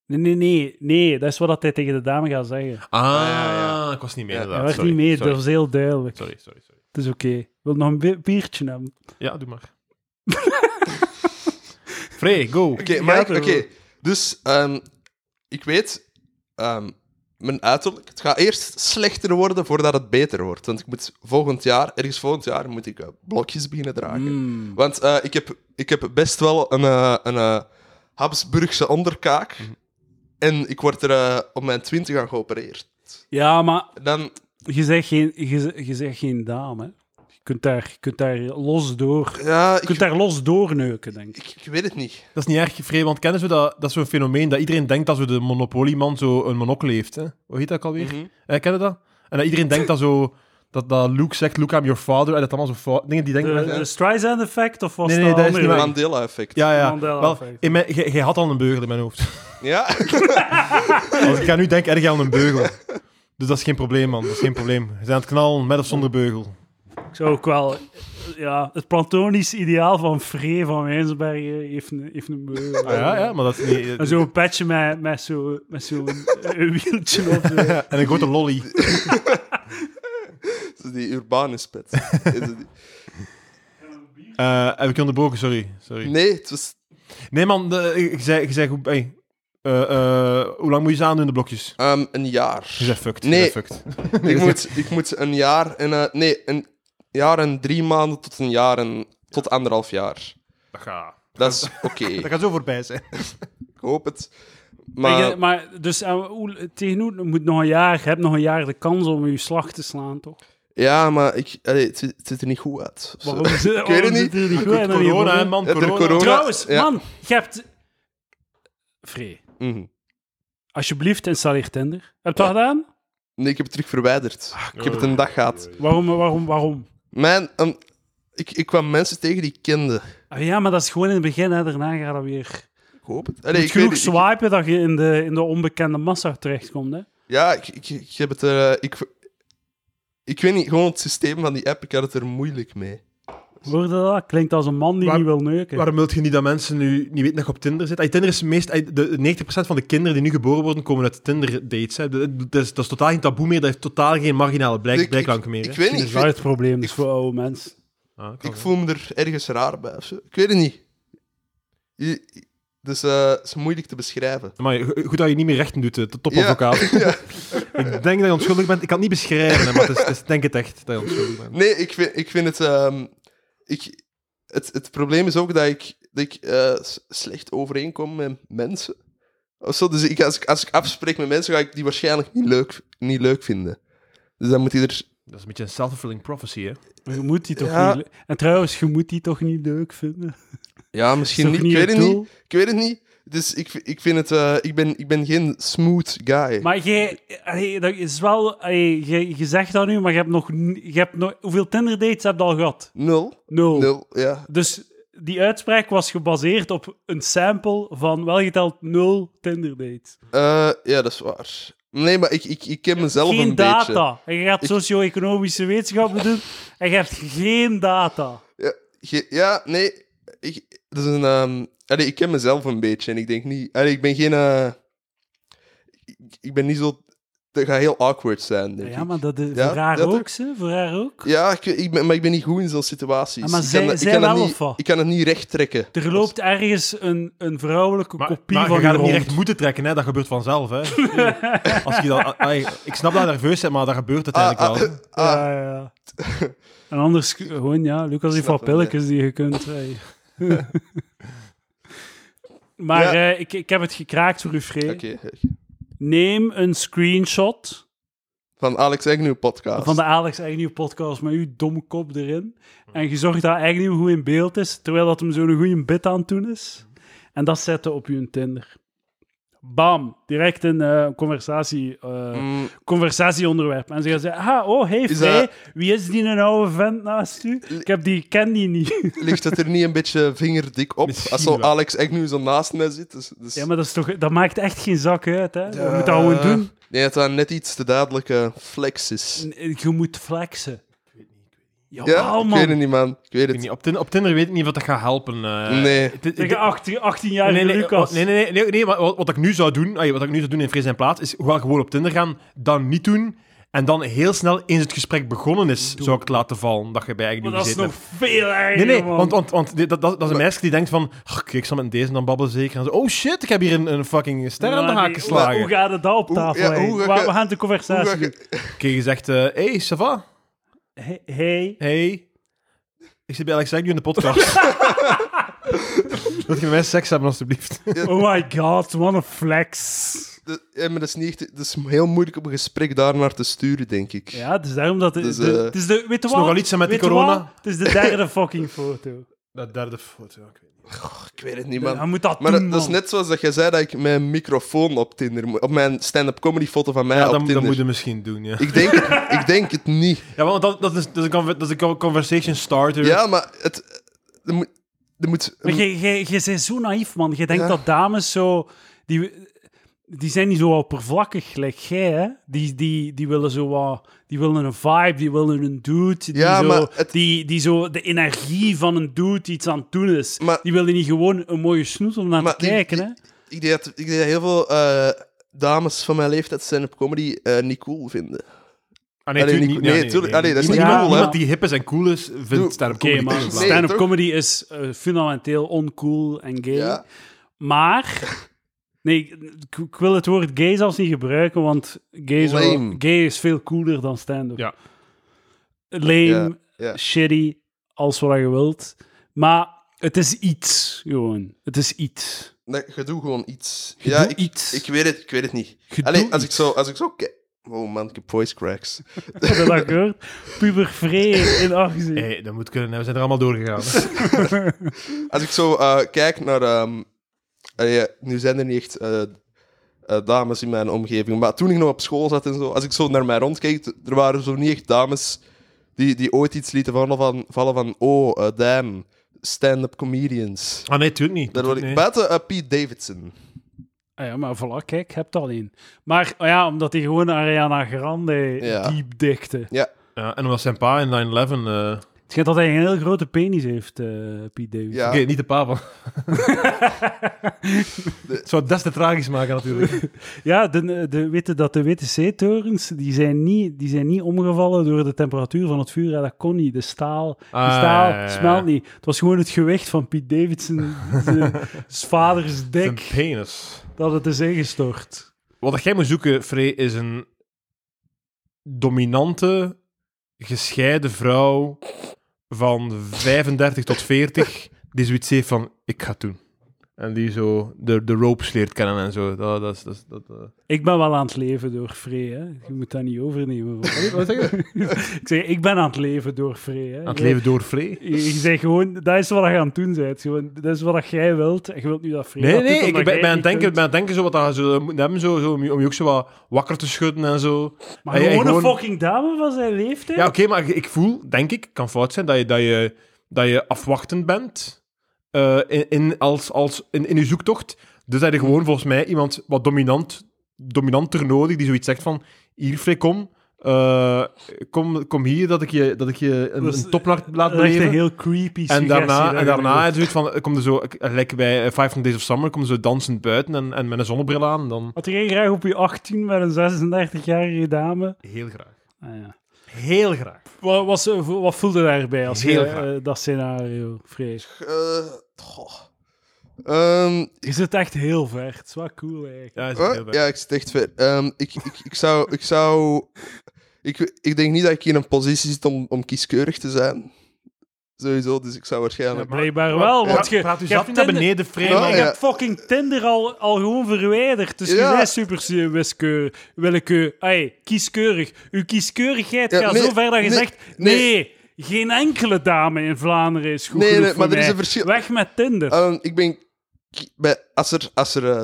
Nee, nee, nee, nee, dat is wat hij tegen de dame gaat zeggen.
Ah,
ja, ja.
ik was niet mee.
Hij
Ja,
inderdaad.
werd
sorry,
niet mee,
sorry,
dat was heel duidelijk.
sorry, sorry, sorry.
Het is oké. Wil nog een bi- biertje hebben?
Ja, doe maar. (laughs) Frey, go.
Oké,
Ja,
maar ik-
toch.
oké. Dus ehm, ik weet, ehm, mijn uiterlijk. Het gaat eerst slechter worden voordat het beter wordt. Want ik moet volgend jaar, ergens volgend jaar, moet ik eh, blokjes beginnen dragen.
Mm.
Want eh, ik, heb, ik heb best wel een, eh, een eh, Habsburgse onderkaak. En ik word er eh, op mijn twintig aan geopereerd.
Ja, maar
Dan,
je zegt geen, je, zegt- je zegt geen dame. hè. Je kunt daar, je kunt daar los door...
ja,
Je
ik,
kunt daar los doorneuken, denk ik.
ik, ik weet het niet.
Dat is niet erg, Frey, want kennen ze dat? Dat is zo'n fenomeen dat iedereen denkt dat zo de monopolieman zo een monocle heeft. Hè? Hoe heet dat ook alweer?
Mhm.
Eh, ken je dat? En dat iedereen denkt dat zo... Dat, dat Luke zegt, Luke, I'm your father. En dat allemaal zo fout... Dingen die denken...
De,
mensen-
de Streisand effect of was
Nee, nee,
dat
dat is
andere
niet
weg?
Mandela-effect.
ja, ja.
Mandela
Wel,
effect.
in mijn- jij jij had al een beugel in mijn hoofd. (laughs)
Ja? (laughs)
Als ik ga nu denk, erg aan een beugel. Dus dat is geen probleem, man. Dat is geen probleem. We zijn aan het knallen, met of zonder beugel.
Ik zou ook wel... Ja, het plantonisch ideaal van Free van Wijnsbergen heeft een, heeft een beugel.
Ah, ja, ja, maar dat is niet...
En (laughs) zo'n petje met, met zo'n met zo'n eh, (laughs) wieltje op. zo.
Ja, en een grote lolly.
Dat is Die Urbanus-pet. Is het die-
Eh, heb ik je onderbroken? Sorry. Sorry.
Nee, het was...
Nee, man. de- ik zei... Ik zei goed, hey, eh, eh, hoe lang moet je ze aandoen, de blokjes?
ehm, een jaar.
Je zegt fucked.
Nee.
Je zegt fucked.
ik, moet, ik moet een jaar en... eh, nee, een jaar en drie maanden tot een jaar en... Tot anderhalf jaar.
Dat gaat...
Dat is oké.
Dat gaat zo voorbij zijn.
Ik hoop het.
Maar,
Maar...
maar dus eh, hoe, tegen hoe- moet nog een jaar, je hebt nog een jaar de kans om je slag te slaan, toch?
Ja, maar ik, allee, het, ziet- het ziet er niet goed uit. Zo.
Waarom zit
Ik weet het niet.
er niet goed uit? Dan
Corona, hè,
niet-
man.
Heb je
Corona.
corona?
Trouwens,
Ja.
man, je hebt... Free,
Mhm.
alsjeblieft installeer Tinder. Heb je dat gedaan?
Nee, ik heb het terug verwijderd. ik heb het een dag gehad.
Waarom, waarom, waarom?
Mijn... ehm, ik, ik kwam mensen tegen die ik kende.
Ah, ja, maar dat is gewoon in het begin, hè. daarna gaat dat weer...
Ik hoop het. Allee,
moet
ik weet
genoeg
niet, ik-
swipen dat je in de, in de onbekende massa terechtkomt, hè.
Ja, ik, ik, ik heb het er. eh, ik, ik weet niet, gewoon het systeem van die app, ik had het er moeilijk mee.
Hoorde dat? Klinkt als een man die
Waar-
niet wil neuken.
Waarom wilt je niet dat mensen nu niet weten dat je op Tinder zit? Ey, Tinder is meest, ey, de, de 90% van de kinderen die nu geboren worden, komen uit Tinder-dates. hè. De- de- Dat is, dat is totaal geen taboe meer, dat heeft totaal geen marginale blijk,
Ik- ik-
blijklank meer.
Ik
hè.
weet
dat
niet,
is
ik,
wel
vind-
het probleem, dus voor oude mensen.
Ah, kan
ik
wel.
voel me er ergens raar bij of zo. Ik weet het niet. Je- je- dus eh, het is moeilijk te beschrijven.
Amai, go- goed dat je niet meer rechten doet, eh, de topadvocaat.
Ja. (laughs)
(laughs) Ik denk dat je onschuldig bent. Ik kan het niet beschrijven, hè, maar het is, het is- ik denk het echt dat je onschuldig bent.
Nee, ik vind, ik vind het, ehm, ik, het. Het probleem is ook dat ik, dat ik eh, s- slecht overeenkom met mensen. Of zo. Dus ik, als, ik, als ik afspreek met mensen, ga ik die waarschijnlijk niet leuk, niet leuk vinden. Dus dan moet hij er.
Dat is een beetje een self-fulfilling prophecy, hè.
Maar je moet die toch
Ja.
niet... le- En trouwens, je moet die toch niet leuk vinden?
Ja, misschien
Is
niet.
toch
Ik
het
weet het niet.
doel?
Ik weet het niet. Dus ik, ik vind het... eh, ik, ben, ik ben geen smooth guy.
Maar jij... allee, dat is wel... allee, jij- je zegt dat nu, maar je hebt nog... n- Je hebt nog hoeveel Tinder dates heb je al gehad?
Nul.
Nul.
Nul, ja.
Dus die uitspraak was gebaseerd op een sample van welgeteld nul Tinder dates.
Eh, ja, dat is waar. Nee, maar ik, ik, ik ken mezelf
Geen
een beetje.
data. En je gaat socio-economische wetenschappen doen en je hebt geen data.
Ge- ja, nee. Ik, dat is een... ehm, allee, ik ken mezelf een beetje en ik denk niet... Allee, ik ben geen... eh, ik, ik ben niet zo dat gaat heel awkward zijn, denk
Ja,
ik.
maar dat, eh,
Ja,
voor haar
dat
ook,
ook.
ze? Voor haar ook?
Ja, ik, ik ben, maar ik ben niet goed in zo'n situaties.
Ah, maar
ik
zij-
dat-
zij
ik dat
wel
niet,
of wat?
Ik kan het niet recht trekken.
Er loopt ergens een, een vrouwelijke
Maar,
kopie
maar
van
je
u
gaat het
rond.
niet echt moeten trekken, hè? dat gebeurt vanzelf.
(laughs)
Hè? Als je dan, ai, ik snap dat je nerveus bent, maar dat gebeurt uiteindelijk
Ah,
wel.
ah,
hè.
ah,
Ja, ja, ja. En anders, k- gewoon ja, Lucas heeft
Snap
wat
hem, ja.
pilletjes die je kunt... hey.
(laughs)
maar
Ja.
eh, ik, ik heb het gekraakt voor u, Free.
Oké.
Neem een screenshot
Van Alex Agnew podcast.
van de Alex Agnew podcast met uw domme kop erin. En je zorgt dat Agnew goed in beeld is, terwijl dat hem zo'n goede bit aan het doen is. En dat zetten op je Tinder. Bam, direct een eh, conversatie, eh,
Mm,
conversatieonderwerp. En ze gaan zeggen, ah, oh, hey,
Is
Frey,
dat-
wie is die een oude vent naast u? Ik heb die, ik ken die niet.
ligt het er niet een beetje vingerdik op?
Misschien
als zo
wel.
Alex Agnew zo naast mij zit. Dus, dus-
ja, maar dat, is toch, dat maakt echt geen zak uit, hè. Je
Ja.
moet dat gewoon doen.
Nee, dat dat net iets te duidelijke flex is.
Je moet flexen. Ja,
Ja, ik
Oh, man.
weet het niet, man. Ik weet
Ik
het.
weet niet, op, Tinder, op Tinder weet ik niet wat dat gaat helpen. eh.
Nee.
Het- het-
Tegen 18, 18-jarige
nee, nee,
Lucas.
oh, nee, nee, nee, nee, nee, maar wat, wat ik nu zou doen, ai, wat ik nu zou doen in Vrees en Plaats, is wel gewoon op Tinder gaan, dan niet doen, en dan heel snel, eens het gesprek begonnen is, zou ik het laten vallen, dat je bij eigenlijk
Maar
niet
dat is
gezeten
nog
hebt.
veel erger,
Nee, nee,
man.
want, want, want dit- dat, dat, dat is een meisje die denkt van, "Ach, oké, ik zal met deze dan babbelen zeker. En zo, oh shit, ik heb hier een, een fucking ster aan de
Maar
haak
die-
geslagen.
Hoe, hoe gaat het daar op
Hoe-
tafel?
ja,
heen?
hoe ga
Waar-
je-
we gaan de
Hoe ga
conversatie doen.
je-
Oké, je zegt, eh, hey, ça va?
Hey, hey.
Hey. Ik zit bij Alex Agnew in de
(laughs)
podcast. Wil je met mij seks hebben, alstublieft?
Oh my god, wat een flex.
Dat- ja, maar dat is, niet echt, dat is heel moeilijk om een gesprek daar naar te sturen, denk ik.
Ja, dus daarom dat... de-
Dus,
de-
eh,
het is de, weet je
is
wat?
nogal iets, hè, met die
Weet je
corona.
wat? Het is de derde fucking
(laughs)
foto.
Dat derde foto, ik weet niet.
Ik weet het niet,
Hij
man.
moet dat
Maar
doen,
dat, dat is
man.
net zoals dat jij zei dat ik mijn microfoon op Tinder moet- Op mijn stand-up comedy foto van mij
Ja,
op
dat, dat
Tinder.
moet je misschien doen, ja.
ik, denk het, ik denk het niet.
Ja, want dat, dat, is, dat, is een, conver- dat is een con- conversation starter.
Ja, maar het... Er moet... Er moet
Maar je, je, je bent zo naïef, man. Je denkt
Ja.
dat dames zo... Die, die zijn niet zo oppervlakkig, gelijk jij, hè. Die, die, die willen zo wat... Die willen een vibe, die willen een dude. Die,
Ja,
zo,
maar het-
die, die zo de energie van een dude die iets aan het doen is.
Maar-
die willen niet gewoon een mooie snoet om naar
maar
te kijken,
ik,
hè.
ik, ik denk dat, ik denk dat heel veel eh, dames van mijn leeftijd stand-up comedy eh, niet cool vinden.
Ah, nee,
Allee,
tuurlijk
niet-
niet.
nee, tuurlijk- allee, dat is
niet
Niemand,
cool, hè?
niemand die hip is en cool is,
Doe-
vindt stand-up
Oké,
comedy
maar
cool.
Nee,
stand-up
toch?
comedy is eh, fundamenteel oncool en gay.
Ja.
Maar... Nee, ik, ik- ik wil het woord gay zelfs niet gebruiken, want gay is, wel-
Lame.
gay is veel cooler dan stand-up.
Ja.
Lame,
Ja, ja.
shitty, als wat je wilt. Maar het is iets, gewoon. Het is iets.
Nee, je doet gewoon iets.
Je
ja,
doet
ik,
iets.
ik weet het, ik weet het niet.
Je
Allee,
doet
als ik
iets.
zo... Als ik zo kijk- oh man, ik heb voice cracks.
Heb je dat gehoord? Pubervree in actie.
Hey, dat moet kunnen, hè. we zijn er allemaal doorgegaan.
(laughs) Als ik zo eh, kijk naar. ehm, eh, ja, nu zijn er niet echt eh, eh, dames in mijn omgeving. Maar toen ik nog op school zat en zo. Als ik zo naar mij rondkeek. t- Er waren zo niet echt dames. die, die ooit iets lieten vallen van. Vallen van oh, eh, damn. Stand-up comedians.
Ah nee, tuurlijk niet.
Dat word ik.
tuurlijk
Buiten eh, Pete Davidson.
(laughs) Ah ja, maar voilà, kijk, je hebt al één. Maar oh ja, omdat hij gewoon Ariana Grande
Ja.
diep dikte.
Ja.
niet. Ja, en omdat zijn pa in 9-11... eh,
Het schijnt dat hij een heel grote penis heeft, eh Piet Davidson.
ja.
Oké, niet de
(laughs)
pa van. Het zou het des te tragisch maken,
(laughs)
natuurlijk.
Ja, de, eh, de, witte, dat de witte zeetorens, die zijn, niet, die zijn niet omgevallen door de temperatuur van het vuur. Ja, dat kon niet. De staal, de
Ah,
staal
ja, ja, ja.
smelt niet. Het was gewoon het gewicht van Piet Davidson,
(laughs)
zijn vaders
Een
dik,
penis.
dat het is ingestort.
Wat jij moet zoeken, Frey, is een dominante, gescheiden vrouw van 35 tot 40 die zoiets heeft van, ik ga het doen. En die zo de, de ropes leert kennen en zo. Dat, dat, is- dat, is- dat, eh.
Ik ben wel aan het leven door Free, hè. Je moet dat niet overnemen. van mij.
Wat zeg je?
(laughs) ik zeg, ik ben aan het leven door Free, hè.
Aan het
Je-
leven door Frey.
Je, je zegt gewoon, dat is wat je aan het doen bent. Gewoon, dat is wat jij wilt. En Je wilt nu dat Free
Nee,
dat
nee,
doet,
ik
omdat
ben, ben,
jij
aan het
niet
denken,
kunt.
ben aan het denken zo wat dat ze moeten hebben, zo, zo, om, je, om je ook zo wat wakker te schudden en zo.
Maar
Hey, hey,
gewoon een
gewoon-
fucking dame van zijn leeftijd?
Ja, oké, maar ik voel, denk ik, kan fout zijn, dat je, dat je, dat je afwachtend bent eh, in, in, als, als, in, in je zoektocht. Dus heb je gewoon volgens mij iemand wat dominant, dominanter nodig, die zoiets zegt van, hier, Frey, kom, eh, kom, kom hier dat ik je, dat ik je een,
Dat is-
een topnacht laat
Dat is echt
beleven.
Dus, eh, een heel creepy
En
suggestie dus.
daarna, en
dat je
daarna
doet.
het zoiets van, eh, kom er zo, eh, lekker bij eh, 500 Days of Summer, kom er zo dansend buiten en, en met een zonnebril aan, dan...
Had jij graag op je 18 met een 36-jarige dame?
Heel graag.
Ah, ja.
Heel graag.
wat, was, wat voelde daarbij als
Heel
je
graag.
eh, dat scenario vrees?
Eh, goh. Ehm,
Je zit echt heel ver. Het is wel cool eigenlijk.
Ja, is
Huh?
heel
Eh, Ja, ik zit echt ver. Ehm, ik, ik, ik zou... Ik, zou ik, ik denk niet dat ik in een positie zit om, om kieskeurig te zijn. Sowieso, dus ik zou waarschijnlijk...
Blijkbaar wel, want je,
Praat u
je
zelf
hebt
niet naar
Tinder,
beneden, vreemd.
Ja,
je
Nou, ja.
hebt fucking Tinder al, al gewoon verwijderd. Dus
Ja.
je bent super wiskeurig. Willekeur. Ai, kieskeurig. Uw kieskeurigheid
Ja,
gaat
nee,
zo ver dat je
nee,
zegt...
nee.
Nee, geen enkele dame in Vlaanderen is goed
Nee,
genoeg
nee,
voor
maar er is
mij.
een verschil.
Weg met Tinder.
Ehm, ik ben... ki- Bij, als er... Als er eh,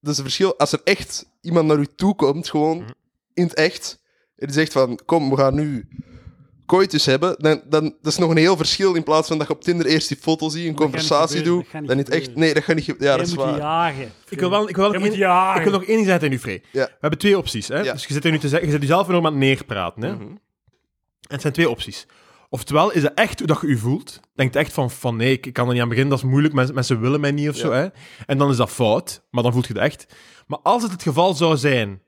dat is een verschil. Als er echt iemand naar u toe komt, gewoon
Mhm.
in het echt, en die zegt van, kom, we gaan nu coitus hebben, dan, dan dat is nog een heel verschil in plaats van dat je op Tinder eerst die foto ziet, een
gaat niet
conversatie
gebeuren, dat
doet,
gaat niet
dan niet echt...
gebeuren.
Nee, dat gaat niet... ge- Ja,
Jij
dat is
moet
waar.
jagen.
Ik wil, wel, ik, wil wel
Jij
nog
moet
één-
jagen.
ik wil nog één ding zeggen tegen u, Free.
Ja.
We hebben twee opties. Hè?
Ja. Mhm.
Dus je zit, er nu te zeggen, je zit jezelf enorm aan het neerpraten. Hè? En het zijn twee opties. Oftewel is het echt hoe dat je u voelt. Denkt echt van, van nee, ik ik kan er niet aan beginnen, dat is moeilijk, mensen, mensen willen mij niet of zo.
Ja.
Hè? En dan is dat fout, maar dan voelt je het echt. Maar als het het geval zou zijn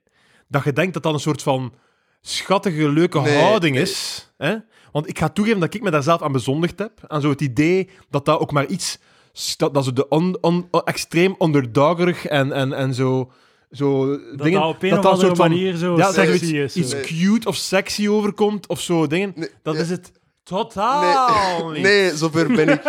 dat je denkt dat dat een soort van schattige, leuke
Nee,
houding
nee.
is... Hè? Want ik ga toegeven dat ik me daar zelf aan bezondigd heb. Aan zo het idee dat dat ook maar iets... Dat, dat zo de on, on- on- extreem underdogerig en, en, en zo... zo
Dat
dingen,
dat op een of andere manier zo
ja, zeg maar
sexy is.
iets,
eh.
iets
Nee.
cute of sexy overkomt of zo dingen.
Nee,
dat
ja.
is het totaal niet.
(laughs) Nee, zover ben ik.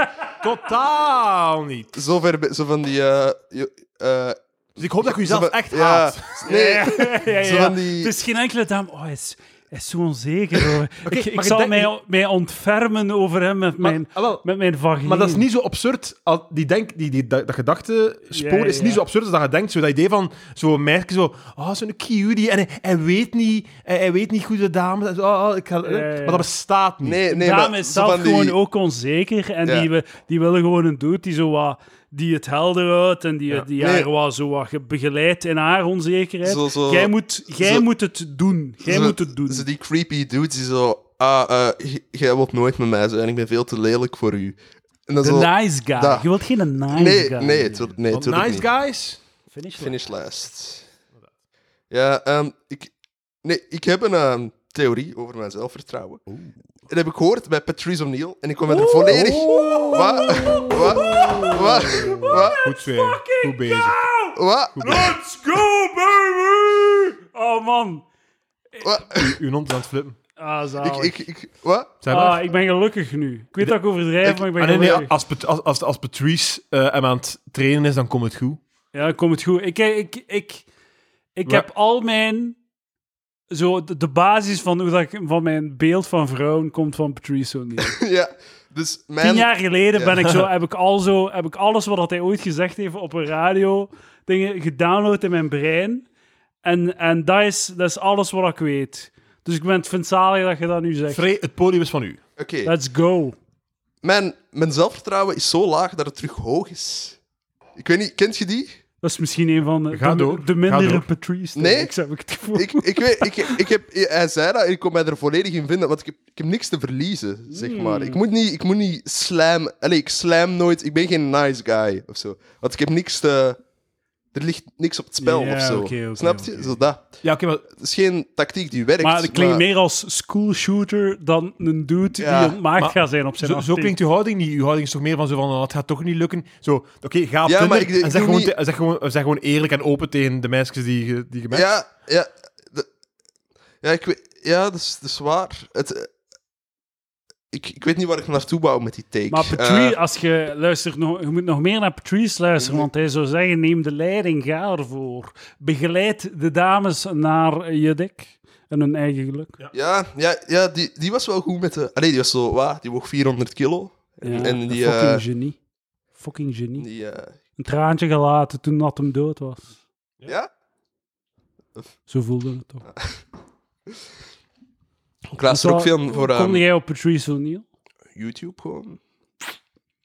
Totaal niet.
Zover ben- zo van die. eh, jo- eh,
Dus ik hoop dat je
zo
jezelf
van-
echt
ja,
haat.
Nee,
(laughs) Ja, ja,
zo
ja.
van die-
Het is geen enkele dame. Oh, hij is, hij is zo onzeker. hoor. ik ik
maar
zal
ik denk-
mij, mij ontfermen over hem met mijn,
Ah, wel,
met mijn vagina.
Maar dat is niet zo absurd. al- Die, denk, die, die, dat, dat gedachtespoor
Ja, ja,
is
ja.
niet zo absurd als dat je denkt. Zo dat idee van zo'n merk zo... Oh, zo'n cutie. En hij, hij weet niet... Hij, hij weet niet goede dames. en zo, oh, ik ga,
Ja, ja, ja.
Maar dat bestaat niet.
nee, nee.
Dame
maar
is
zo
zelf
van die-
gewoon ook onzeker. En
Ja.
die, we- die willen gewoon een dude die, zo wat, die het helder houdt. En die,
Ja.
die
Nee.
haar wat, zo wat ge- begeleidt in haar onzekerheid.
Zo- zo-
jij moet, jij
zo-
moet het doen. Jij
zo-
moet het doen.
Zo die creepy dudes die zo. Ah, eh, j- jij wilt nooit met mij zijn, ik ben veel te lelijk voor u. En dan
De
zo.
nice guy.
dat-
Je wilt geen nice
nee,
guy.
nee, tuur- nee,
Want
tuurlijk
nice
niet.
guys...
Finish line.
Finish last. Ja, ehm, ik, nee, ik heb een ehm, theorie over mijn zelfvertrouwen. Dat heb ik gehoord bij Patrice O'Neill en ik kwam er volledig. Wat? Wat? Wat? Wat?
Goed zweer. Goed bezig.
Wat?
Let's go, baby! Oh, man.
Wat?
Uw hond is aan het flippen.
Ah,
Ik,
zalig.
ik, ik, wat? (laughs)
Zeg maar.
Ah, ik ben gelukkig nu. Ik weet dat ik overdrijf,
Ik-
maar ik ben
Ah, nee, nee,
gelukkig.
als, Pat- als, als, als Patrice eh, hem aan het trainen is, dan komt het goed.
Ja, dan komt het goed. Ik, eh, ik, ik, ik
Maar-
heb al mijn... Zo, de, de basis van, hoe dat ik, van mijn beeld van vrouwen komt van Patrice
(laughs)
O'Neill.
Ja, dus mijn...
Tien jaar geleden
Ja.
ben ik zo, heb, ik al zo, heb ik alles wat dat hij ooit gezegd heeft op een radio dingen gedownload in mijn brein. En, en dat, is, dat is alles wat ik weet. Dus ik ben het vind het zalig dat je dat nu zegt.
Free, het podium is van u.
Oké,
Let's go.
mijn, mijn zelfvertrouwen is zo laag dat het terug hoog is. Ik weet niet, kent je die?
Dat is misschien een van de,
Ga
de,
door.
de
Ga
mindere
door.
Patrice.
Nee.
Ik heb ik het gevoel.
Ik, ik weet, ik, ik heb, hij zei dat en ik kon mij er volledig in vinden, want ik heb, ik heb niks te verliezen, zeg
Hmm.
maar. Ik moet niet, ik moet niet slam... Allee, ik slam nooit, ik ben geen nice guy of zo. Want ik heb niks te... Er ligt niks op het spel
Ja,
of zo.
oké, oké,
Snap je?
oké.
Zo dat.
Ja, oké, maar
Het is geen tactiek die werkt.
Maar dat klinkt meer als school shooter dan een dude
Ja,
die ontmaakt
maar
gaat zijn op zijn
Zo, zo
18.
klinkt uw houding niet. Uw houding is toch meer van zo van, oh, het gaat toch niet lukken. Zo, oké, ga op
Ja,
Tinder
maar ik- ik
en zeg
doe
gewoon,
niet-
te- zeg, gewoon, zeg gewoon eerlijk en open tegen de meisjes die je die je matcht.
Ja, ja. de- ja, ik weet, ja dat, is, dat is waar. Het, eh, ik, ik weet niet waar ik naartoe wou met die take.
Maar Patrice,
Eh,
als je luistert, nog, je moet nog meer naar Patrice luisteren, want hij zou zeggen, neem de leiding, ga ervoor. Begeleid de dames naar je dek en hun eigen geluk.
ja, ja, ja die, die was wel goed met de... Allee, die was zo... Wat, die woog 400 kilo. En,
Ja,
en die...
een fucking
eh,
genie. Fucking genie.
die eh,
Een traantje gelaten toen dat hem dood was.
ja?
Zo voelde het toch.
Ik luister ook veel voor
Kom
eh,
jij op Patrice O'Neill?
YouTube gewoon.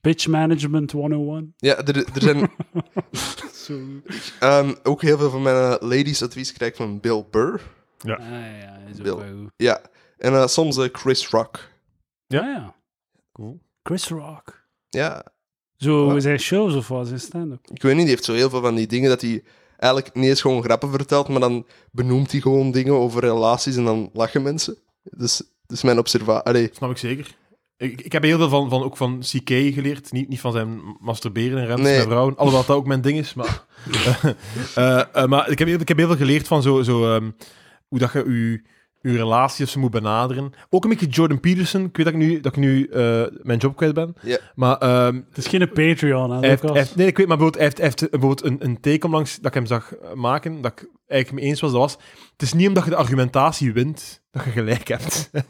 Pitch Management 101.
Ja, er, er
(laughs)
zijn
Zo.
ehm, ook heel veel van mijn eh, ladies advies krijg ik van Bill Burr.
Ja.
Ah, ja, is ook
Bill.
wel goed.
Ja. En eh, soms eh, Chris Rock.
Ja?
Ah, ja.
Cool.
Chris Rock.
Ja.
Zo
Ja.
zijn shows of wat, zijn stand-up.
Ik weet niet, die heeft zo heel veel van die dingen dat hij eigenlijk niet eens gewoon grappen vertelt, maar dan benoemt hij gewoon dingen over relaties en dan lachen mensen. Dus dat is mijn observatie. Allee,
Snap ik zeker. Ik, ik heb heel veel van, van, ook van CK geleerd. Niet, niet van zijn masturberen en remmen
Nee.
met vrouwen. Alhoewel dat ook mijn ding is. Maar, (laughs) Eh, eh, maar ik, heb, heel- ik heb heel veel geleerd van zo, zo, ehm, hoe dat je je, je relatie of zo moet benaderen. Ook een beetje Jordan Peterson. Ik weet dat ik nu, dat ik nu eh, mijn job kwijt ben.
Ja.
Maar ehm,
Het is geen Patreon, hè,
hij heeft, hij
Lucas.
heeft- nee, ik weet, maar bijvoorbeeld, hij heeft, hij heeft bijvoorbeeld een, een take langs dat ik hem zag eh, maken, dat ik eigenlijk mee eens was, dat was... Het is niet omdat je de argumentatie wint, dat je gelijk hebt.
Ah,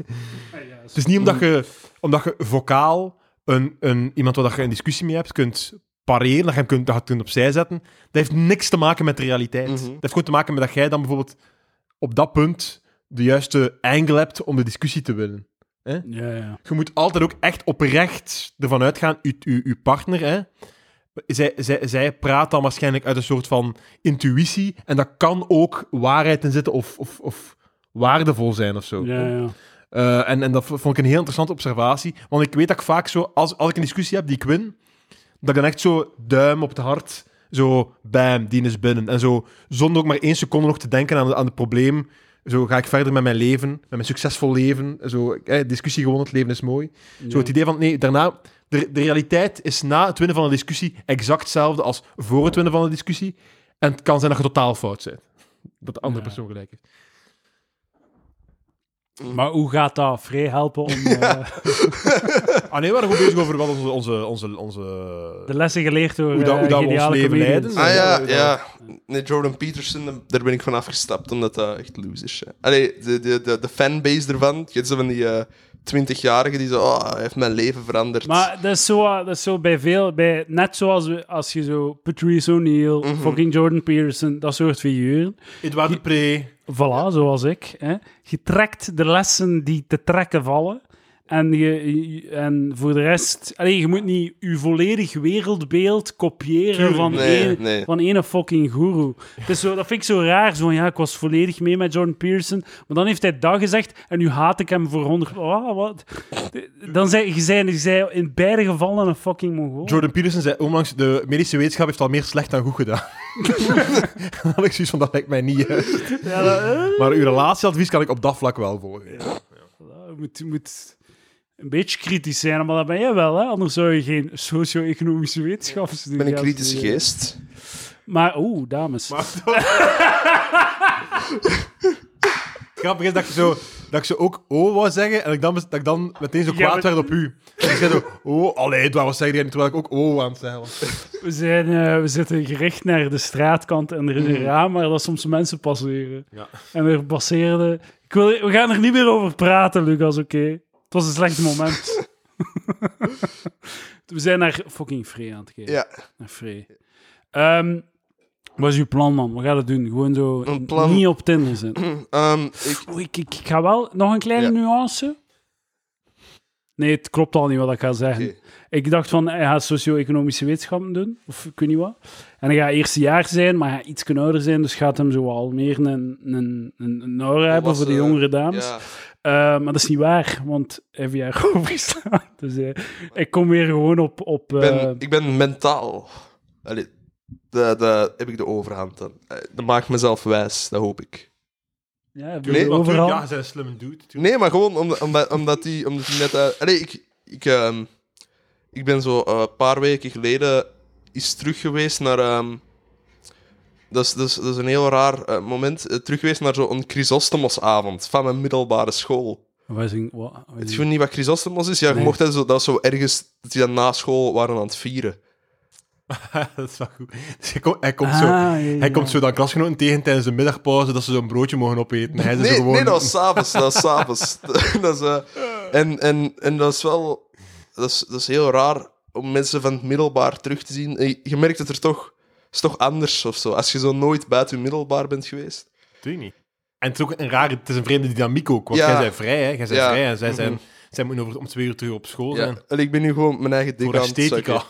ja,
Het is niet omdat je, omdat je vocaal een, een, iemand waar dat je een discussie mee hebt kunt pareren, dat je hem kunt, dat je het kunt opzij zetten. Dat heeft niks te maken met de realiteit.
Mhm.
Dat heeft gewoon te maken met dat jij dan bijvoorbeeld op dat punt de juiste angle hebt om de discussie te winnen.
Ja, ja.
Je moet altijd ook echt oprecht ervan uitgaan, uw, uw, uw partner, hè, zij, zij, zij praat dan waarschijnlijk uit een soort van intuïtie en dat kan ook waarheid in zitten of, of, of waardevol zijn of zo.
ja, ja.
Eh, en, en dat v- vond ik een heel interessante observatie. Want ik weet dat ik vaak zo, als, als ik een discussie heb die ik win, dat ik dan echt zo duim op het hart, zo bam, die is binnen. En zo, zonder ook maar één seconde nog te denken aan, aan het probleem, zo ga ik verder met mijn leven, met mijn succesvol leven. Zo, eh, discussie gewoon, het leven is mooi. Zo het idee van, nee, daarna... De, de realiteit is na het winnen van een discussie exact hetzelfde als voor het winnen van een discussie. En het kan zijn dat je totaal fout bent. Dat de andere
Ja.
persoon gelijk heeft.
Maar hoe gaat dat Free helpen
(laughs)
om eh,
Ah nee, we waren gewoon bezig over wat onze... onze, onze, onze...
de lessen geleerd door
Hoe dat-
eh,
hoe dat we ons
geniale
leven
comedians?
leiden.
Ah ja,
Ja,
ja. Nee, Jordan Peterson, daar ben ik van afgestapt, omdat dat echt loose is. hè. Allee, de, de, de, de fanbase ervan. Je hebt zo van die eh, twintigjarigen die zo... Oh, hij heeft mijn leven veranderd.
Maar dat is zo, eh, dat is zo bij veel, bij, net zoals we- als je zo Patrice O'Neill,
Mhm.
fucking Jordan Peterson, dat soort figuren.
Edouard Depree.
Voilà, zoals ik. Hè. Je trekt de lessen die te trekken vallen. En, je, je- en voor de rest, allee, je moet niet je volledig wereldbeeld kopiëren
Tuurlijk
van,
niet. Nee,
één-
nee.
van ene fucking guru. Het is zo, dat vind ik zo raar. Zo, van, ja, ik was volledig mee met Jordan Peterson. Maar dan heeft hij dat gezegd en nu haat ik hem voor 100. Oh,
(laughs)
wat? Dan zei je zei, je zei in beide gevallen een fucking Mongool.
Jordan Peterson zei onlangs, de medische wetenschap heeft al meer slecht dan goed gedaan. (laughs) Dan had ik zoiets van, dat lijkt mij niet juist.
Ja, dat- eh.
Maar uw relatieadvies kan ik op dat vlak wel volgen.
Ja, Je moet, je moet een beetje kritisch zijn, maar dat ben jij wel, hè? Anders zou je geen socio-economische wetenschappen
ik
studeren.
ben een kritische
studeren.
geest.
Maar, oeh, dames.
Grappig is dat ik, zo, dat ik zo ook oh wou zeggen en dat ik dan, dat ik dan meteen zo
Ja,
kwaad
maar-
werd op u. Dus ik zei zo, oh, allee, Edouard, wat zeg jij nu? Terwijl ik ook oh aan het zeggen was.
We, zijn, eh, we zitten gericht naar de straatkant en er is een raam waar dat soms mensen passeren.
Ja.
En er passeerden... Ik wil, we gaan er niet meer over praten, Lucas, oké? Het was een slecht moment. we zijn naar fucking Free aan het kijken.
Ja.
Naar Free. Ehm, wat is uw plan, man? Wat gaat het doen? Gewoon zo
Een plan-
niet op Tinder zitten.
Ehm, ik,
Oeh, ik, ik, ik ga wel nog een kleine
Ja.
nuance. Nee, het klopt al niet wat ik ga zeggen.
Oké.
Ik dacht van, hij gaat socio-economische wetenschappen doen, of ik weet niet wat. En hij gaat eerstejaars zijn, maar hij gaat iets ouder zijn, dus gaat hem zo al meer een, een, een, een aura hebben voor de
Volwassen,
jongere dames.
ja.
Eh, maar dat is niet waar, want hij heeft (laughs) jaar overgestaan. Dus eh, ik kom weer gewoon op... op
Ik ben,
eh,
ik ben mentaal. Allee, de, de, heb ik de overhand dan. Eh, Dat maakt mezelf wijs, dat hoop ik.
ja,
Nee,
Maar tuurlijk,
overal.
Ja, zijn slimme dude. tuurlijk.
Nee, maar gewoon omdat, omdat, omdat die, omdat die net... eh, allee, ik, ik, ehm, ik ben zo eh, een paar weken geleden is terug geweest naar... ehm, dat, is, dat, is, dat is een heel raar eh, moment. eh, terug geweest naar zo'n Chrysostomos-avond van mijn middelbare school.
Wat is een- wat- wat
Weet
is
je
een-
niet wat Chrysostomos is? Ja, je
Nee.
mocht dat, zo, dat zo ergens... Dat die dan na school waren aan het vieren.
(laughs) dat is wel goed. Dus hij komt, hij komt
Ah,
zo...
ja,
Hij
ja.
komt zo dan klasgenoten tegen tijdens de middagpauze dat ze zo'n broodje mogen opeten. Hij is
Nee,
zo gewoon...
nee, dat was s'avonds. Dat was
(laughs)
s'avonds. (laughs) dat is, eh, en, en, en dat is wel... Dat is, dat is heel raar om mensen van het middelbaar terug te zien. En je- Je merkt het er toch... is toch anders of zo. Als je zo nooit buiten je middelbaar bent geweest.
Doe je niet. En het is ook een rare, het is een vreemde dynamiek ook. Want
Ja.
jij zijn vrij, hè? Jij zijn
Ja.
vrij en zij zijn, zij moeten over, om twee uur terug op school
Ja. Oh
zijn.
En ik ben nu gewoon mijn eigen dik
Voor
aan het (laughs)
esthetica.
zakken.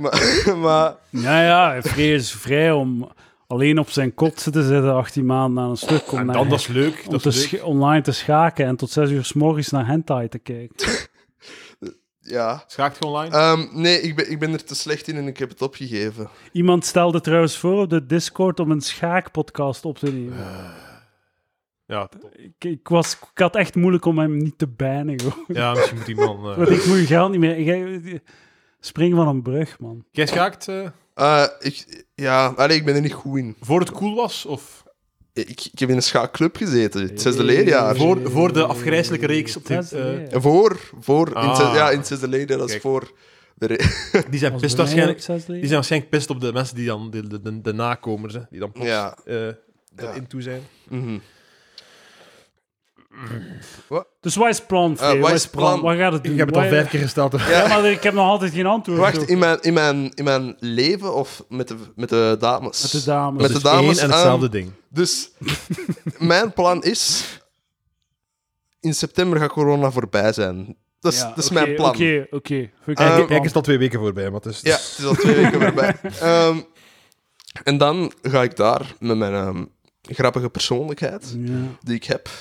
Maar, maar
Ja, ja, vrij is vrij om alleen op zijn kot zitten zitten 18 maanden aan een stuk om,
En
naar-
dan, dat is leuk.
om
Dat is
te
leuk.
sch- online te schaken en tot 6 uur s morgens naar hentai te kijken.
Ja.
Schaakt je online?
Ehm, nee, ik ben, ik ben er te slecht in en ik heb het opgegeven.
Iemand stelde trouwens voor op de Discord om een schaakpodcast op te nemen.
ja,
Ik, ik, was, ik had echt moeilijk om hem niet te bannen, gewoon.
ja, misschien moet iemand...
(laughs)
Want
man. eh,
ik moet je geld niet meer... ik- Spring van een brug, man.
Jij schaakt eh,
Eh, ik, ja, allee, ik ben er niet goed in.
voor het cool was? Of
Ik, ik heb in een schaakclub gezeten, het zesde
Hey.
leerjaar.
Voor- voor de afgrijzelijke reeks op de-
Zesde
eh,
leerjaar.
En voor, voor in het
Ah.
zesde- ja, in het zesde leerjaar, dat is
Kijk.
voor de re-
(laughs) die zijn
Was
pist
bij mij
waarschijnlijk...
ook zesde
Die
leerjaar.
zijn waarschijnlijk pist op de mensen die dan de, de, de, de nakomers, hè, die dan plots
Ja.
eh,
Ja.
erin toe zijn.
Mhm.
Dus wat is het plan, Free?
Eh, wat
wat
is
is het plan?
plan?
Wat gaat het doen?
Ik heb het al
Wat-
vijf keer
(laughs)
gesteld. hè.
Ja, maar ik heb nog altijd geen antwoord.
Wacht,
op.
in mijn, in, mijn, in mijn leven of met de, met de dames?
Met de dames.
Met
Dat
de
is
dames
Dus één en
aan-
hetzelfde ding.
Dus mijn plan is... In september gaat corona voorbij zijn. Dat is,
Ja,
dat is
oké,
mijn plan.
Oké, oké. Vind ik
Eh,
een goed
Eigenlijk
plan.
is het al twee weken voorbij, maar het is...
Ja, het is al twee weken voorbij. Ehm, en dan ga ik daar met mijn ehm, grappige persoonlijkheid,
Ja.
die ik heb, (laughs)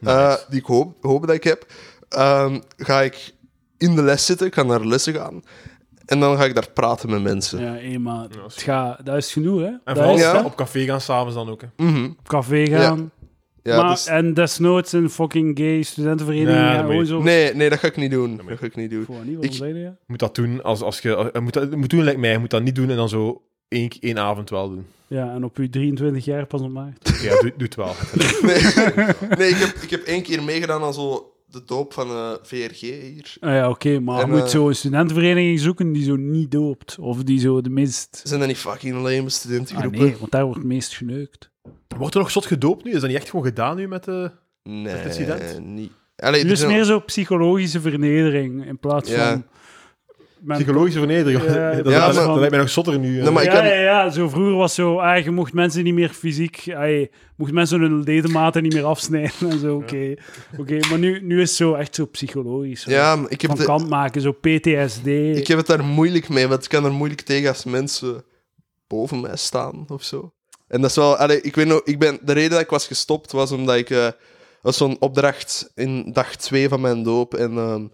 Nice.
eh, die ik hoop, hoop dat ik heb, ehm, ga ik in de les zitten, ik ga naar de lessen gaan. En dan ga ik daar praten met mensen.
Ja, hé, maar
Ja,
het gaat- dat is genoeg, hè?
En
dat
vooral
is
Ja.
het, hè?
op café gaan s'avonds dan ook. Hè.
Mhm.
Op café gaan.
Ja,
maar, eh,
dus-
En desnoods een fucking gay studentenvereniging.
Nee, dat
Ja,
moet
gewoon
je
zo.
nee, nee, dat ga ik niet doen.
maar-
Dat ga ik niet doen.
Gewoon niet, waarom
Ik-
zei je?
Je moet dat doen als, als je... je moet, dat, je moet doen, lijkt mij. Je moet dat niet doen en dan zo één, één avond wel
(laughs)
doen.
Ja, en op je 23 jaar pas op maart.
Ja, doe, doe het wel.
(laughs)
Nee, nee ik, heb, ik heb één keer meegedaan aan zo de doop van eh, VRG hier.
Ah ja, oké, maar
En,
je
eh,
moet zo een studentenvereniging zoeken die zo niet doopt. Of die zo de meest...
Zijn dat niet fucking lame
Ah
studentengroepen?
nee, want daar wordt het meest geneukt.
Wordt er nog zot gedoopt nu? Is dat niet echt gewoon gedaan nu met eh, de...
Nee,
Met student?
niet. Allee,
Nu
er
is
zijn-
meer zo psychologische vernedering in plaats
dus Ja.
van... men-
Psychologische vernedering.
Ja,
(laughs) dat,
ja,
dat-
maar-
dat lijkt mij nog zotter nu. eh. hè.
Nee, maar ik
ja,
heb-
ja, ja, zo vroeger was zo, ah, je mocht mensen niet meer fysiek, ah, je mocht mensen hun ledematen niet meer afsnijden en zo, oké. Oké, maar nu, nu is het zo echt zo psychologisch. Zo.
Ja, maar ik heb,
Van
de-
kant maken, zo PTSD.
ik heb het daar moeilijk mee, want ik kan er moeilijk tegen als mensen boven mij staan of zo. En dat is wel, allee, ik weet nog, ik ben, de reden dat ik was gestopt was omdat ik, eh was zo'n opdracht in dag 2 van mijn doop. En ehm,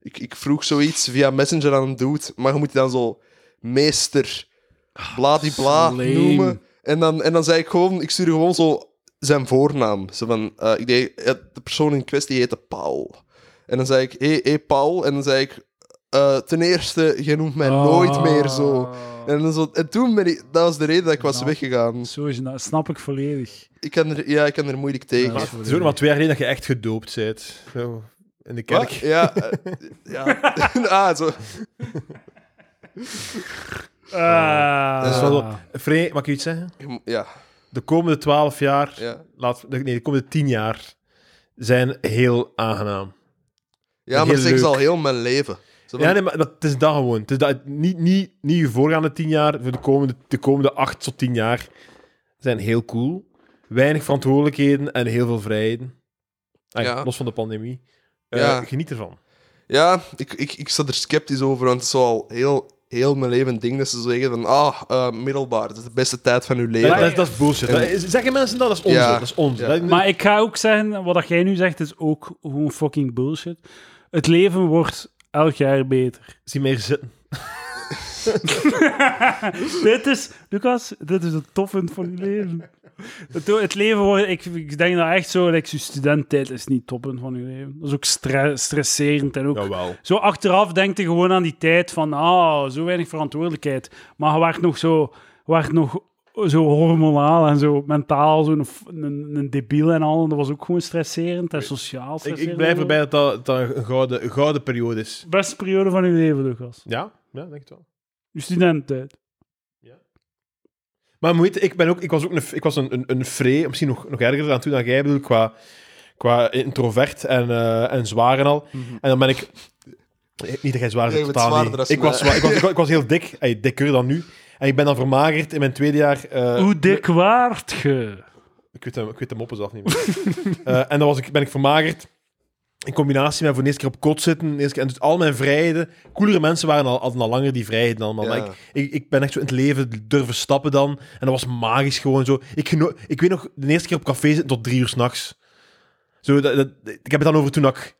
ik, ik vroeg zoiets via Messenger aan een dude, maar je moet die dan zo meester bladibla
Ah, lame.
noemen. En dan, en dan zei ik gewoon, ik stuurde gewoon zo zijn voornaam. Zo van, eh, ik deed, eh, de persoon in kwestie heette Paul. En dan zei ik, hé, hey, Paul. En dan zei ik, eh, ten eerste, je noemt mij
Ah.
Ah.
nooit meer zo. En, dan zo, en toen ben ik, dat was de reden dat ik was
Nou.
weggegaan.
Zo is dat, snap ik volledig.
Ik kan er, ja, ik kan er moeilijk tegen.
Ja.
Maar Het is ook nog maar twee jaar geleden dat je echt gedoopt bent. Zo, in de kerk.
Wat? Ja, eh,
(laughs)
ja. (laughs) ah, zo.
Ah.
dat is wel zo. Free, mag ik je iets zeggen?
Je mo- Ja,
De komende twaalf jaar...
ja.
Laat, nee, de komende tien jaar zijn heel aangenaam.
ja maar
Heel
seks is al
leuk.
heel mijn leven. Zo van-
Ja, nee, maar dat het is dat gewoon. Het is dat, niet, niet, niet je voorgaande tien jaar, voor de komende, de komende acht tot tien jaar zijn heel cool. Weinig verantwoordelijkheden en heel veel vrijheden. Ah,
Ja.
Los van de pandemie. Eh,
Ja.
Geniet ervan.
Ja, ik, ik, ik sta er sceptisch over, want het is al heel, heel mijn leven een ding dat ze zeggen van, ah, eh, middelbaar, dat is de beste tijd van uw
Dat, dat
leven.
is, dat is bullshit.
En-
Dat is- zeggen mensen dat? Dat is onzin.
Ja.
Dat is onzin.
Ja.
Dat-
Maar ik ga ook zeggen, wat dat jij nu zegt is ook gewoon fucking bullshit. Het leven wordt elk jaar beter.
Zie meer zitten.
dit is, Lucas, dit is het toppunt van je leven. Het, het leven wordt, ik, ik denk dat echt zo, like, je studenttijd is niet het toppunt van je leven. Dat is ook stre- stresserend en ook...
Jawel.
Zo achteraf denk je gewoon aan die tijd van, ah, zo weinig verantwoordelijkheid. Maar je werd nog zo, je werd nog zo hormonaal en zo mentaal, zo'n f- een, een debiel en al. En dat was ook gewoon stresserend en sociaal
Ik,
stresserend.
ik blijf erbij dat dat, dat een gouden, een gouden periode is.
Beste periode van je leven, Lucas.
Ja, ja denk het wel.
Je studententijd.
Maar moet je- ik, ben ook, ik was ook een, ik was een, een, een free, misschien nog, nog erger dan toen dan jij bedoel, qua, qua introvert en, eh, en zwaar en al. En dan ben ik... Niet dat jij zwaar bent,
Jij bent
totaal
zwaarder
niet.
dan
Ik was,
mij.
zwaar- ik, was, ik, was, ik was heel dik, ey, dikker dan nu. En ik ben dan vermagerd in mijn tweede jaar... eh,
Hoe dik waart je?
(laughs) Ik weet, hem, ik weet de moppen zelf niet meer. Eh, en dan was ik, ben ik vermagerd. in combinatie met voor de eerste keer op kot zitten, de eerste keer, en dus al mijn vrijheden. Coolere mensen waren al, hadden al langer die vrijheden allemaal.
Ja.
Maar ik, ik, ik ben echt zo in het leven durven stappen dan. En dat was magisch gewoon zo. Ik, geno- ik weet nog, de eerste keer op café zitten tot drie uur s'nachts. Zo, dat, dat, ik heb het dan over toen ik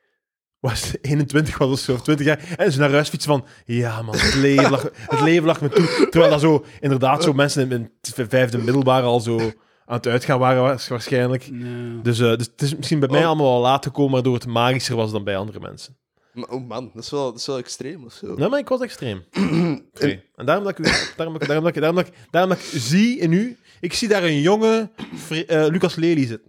was 21 was of zo, of 20 jaar. En ze naar huis fietsen van, ja man, het leven lag, het leven lag me toe. Terwijl dat zo, inderdaad, zo mensen in mijn vijfde middelbare al zo aan het uitgaan waren waars- waarschijnlijk.
Ja.
Dus, eh, dus het is misschien bij mij
Oh.
allemaal wel laat gekomen, waardoor het magischer was dan bij andere mensen.
Maar, oh man, dat is wel, dat is wel extreem of zo.
Nee, maar ik was extreem. Oké. En daarom dat, ik, u- daarom, dat ik- daarom, dat ik, daarom, dat ik, daarom dat ik zie in u, ik zie daar een jonge Fre- eh, Lucas Lely zitten.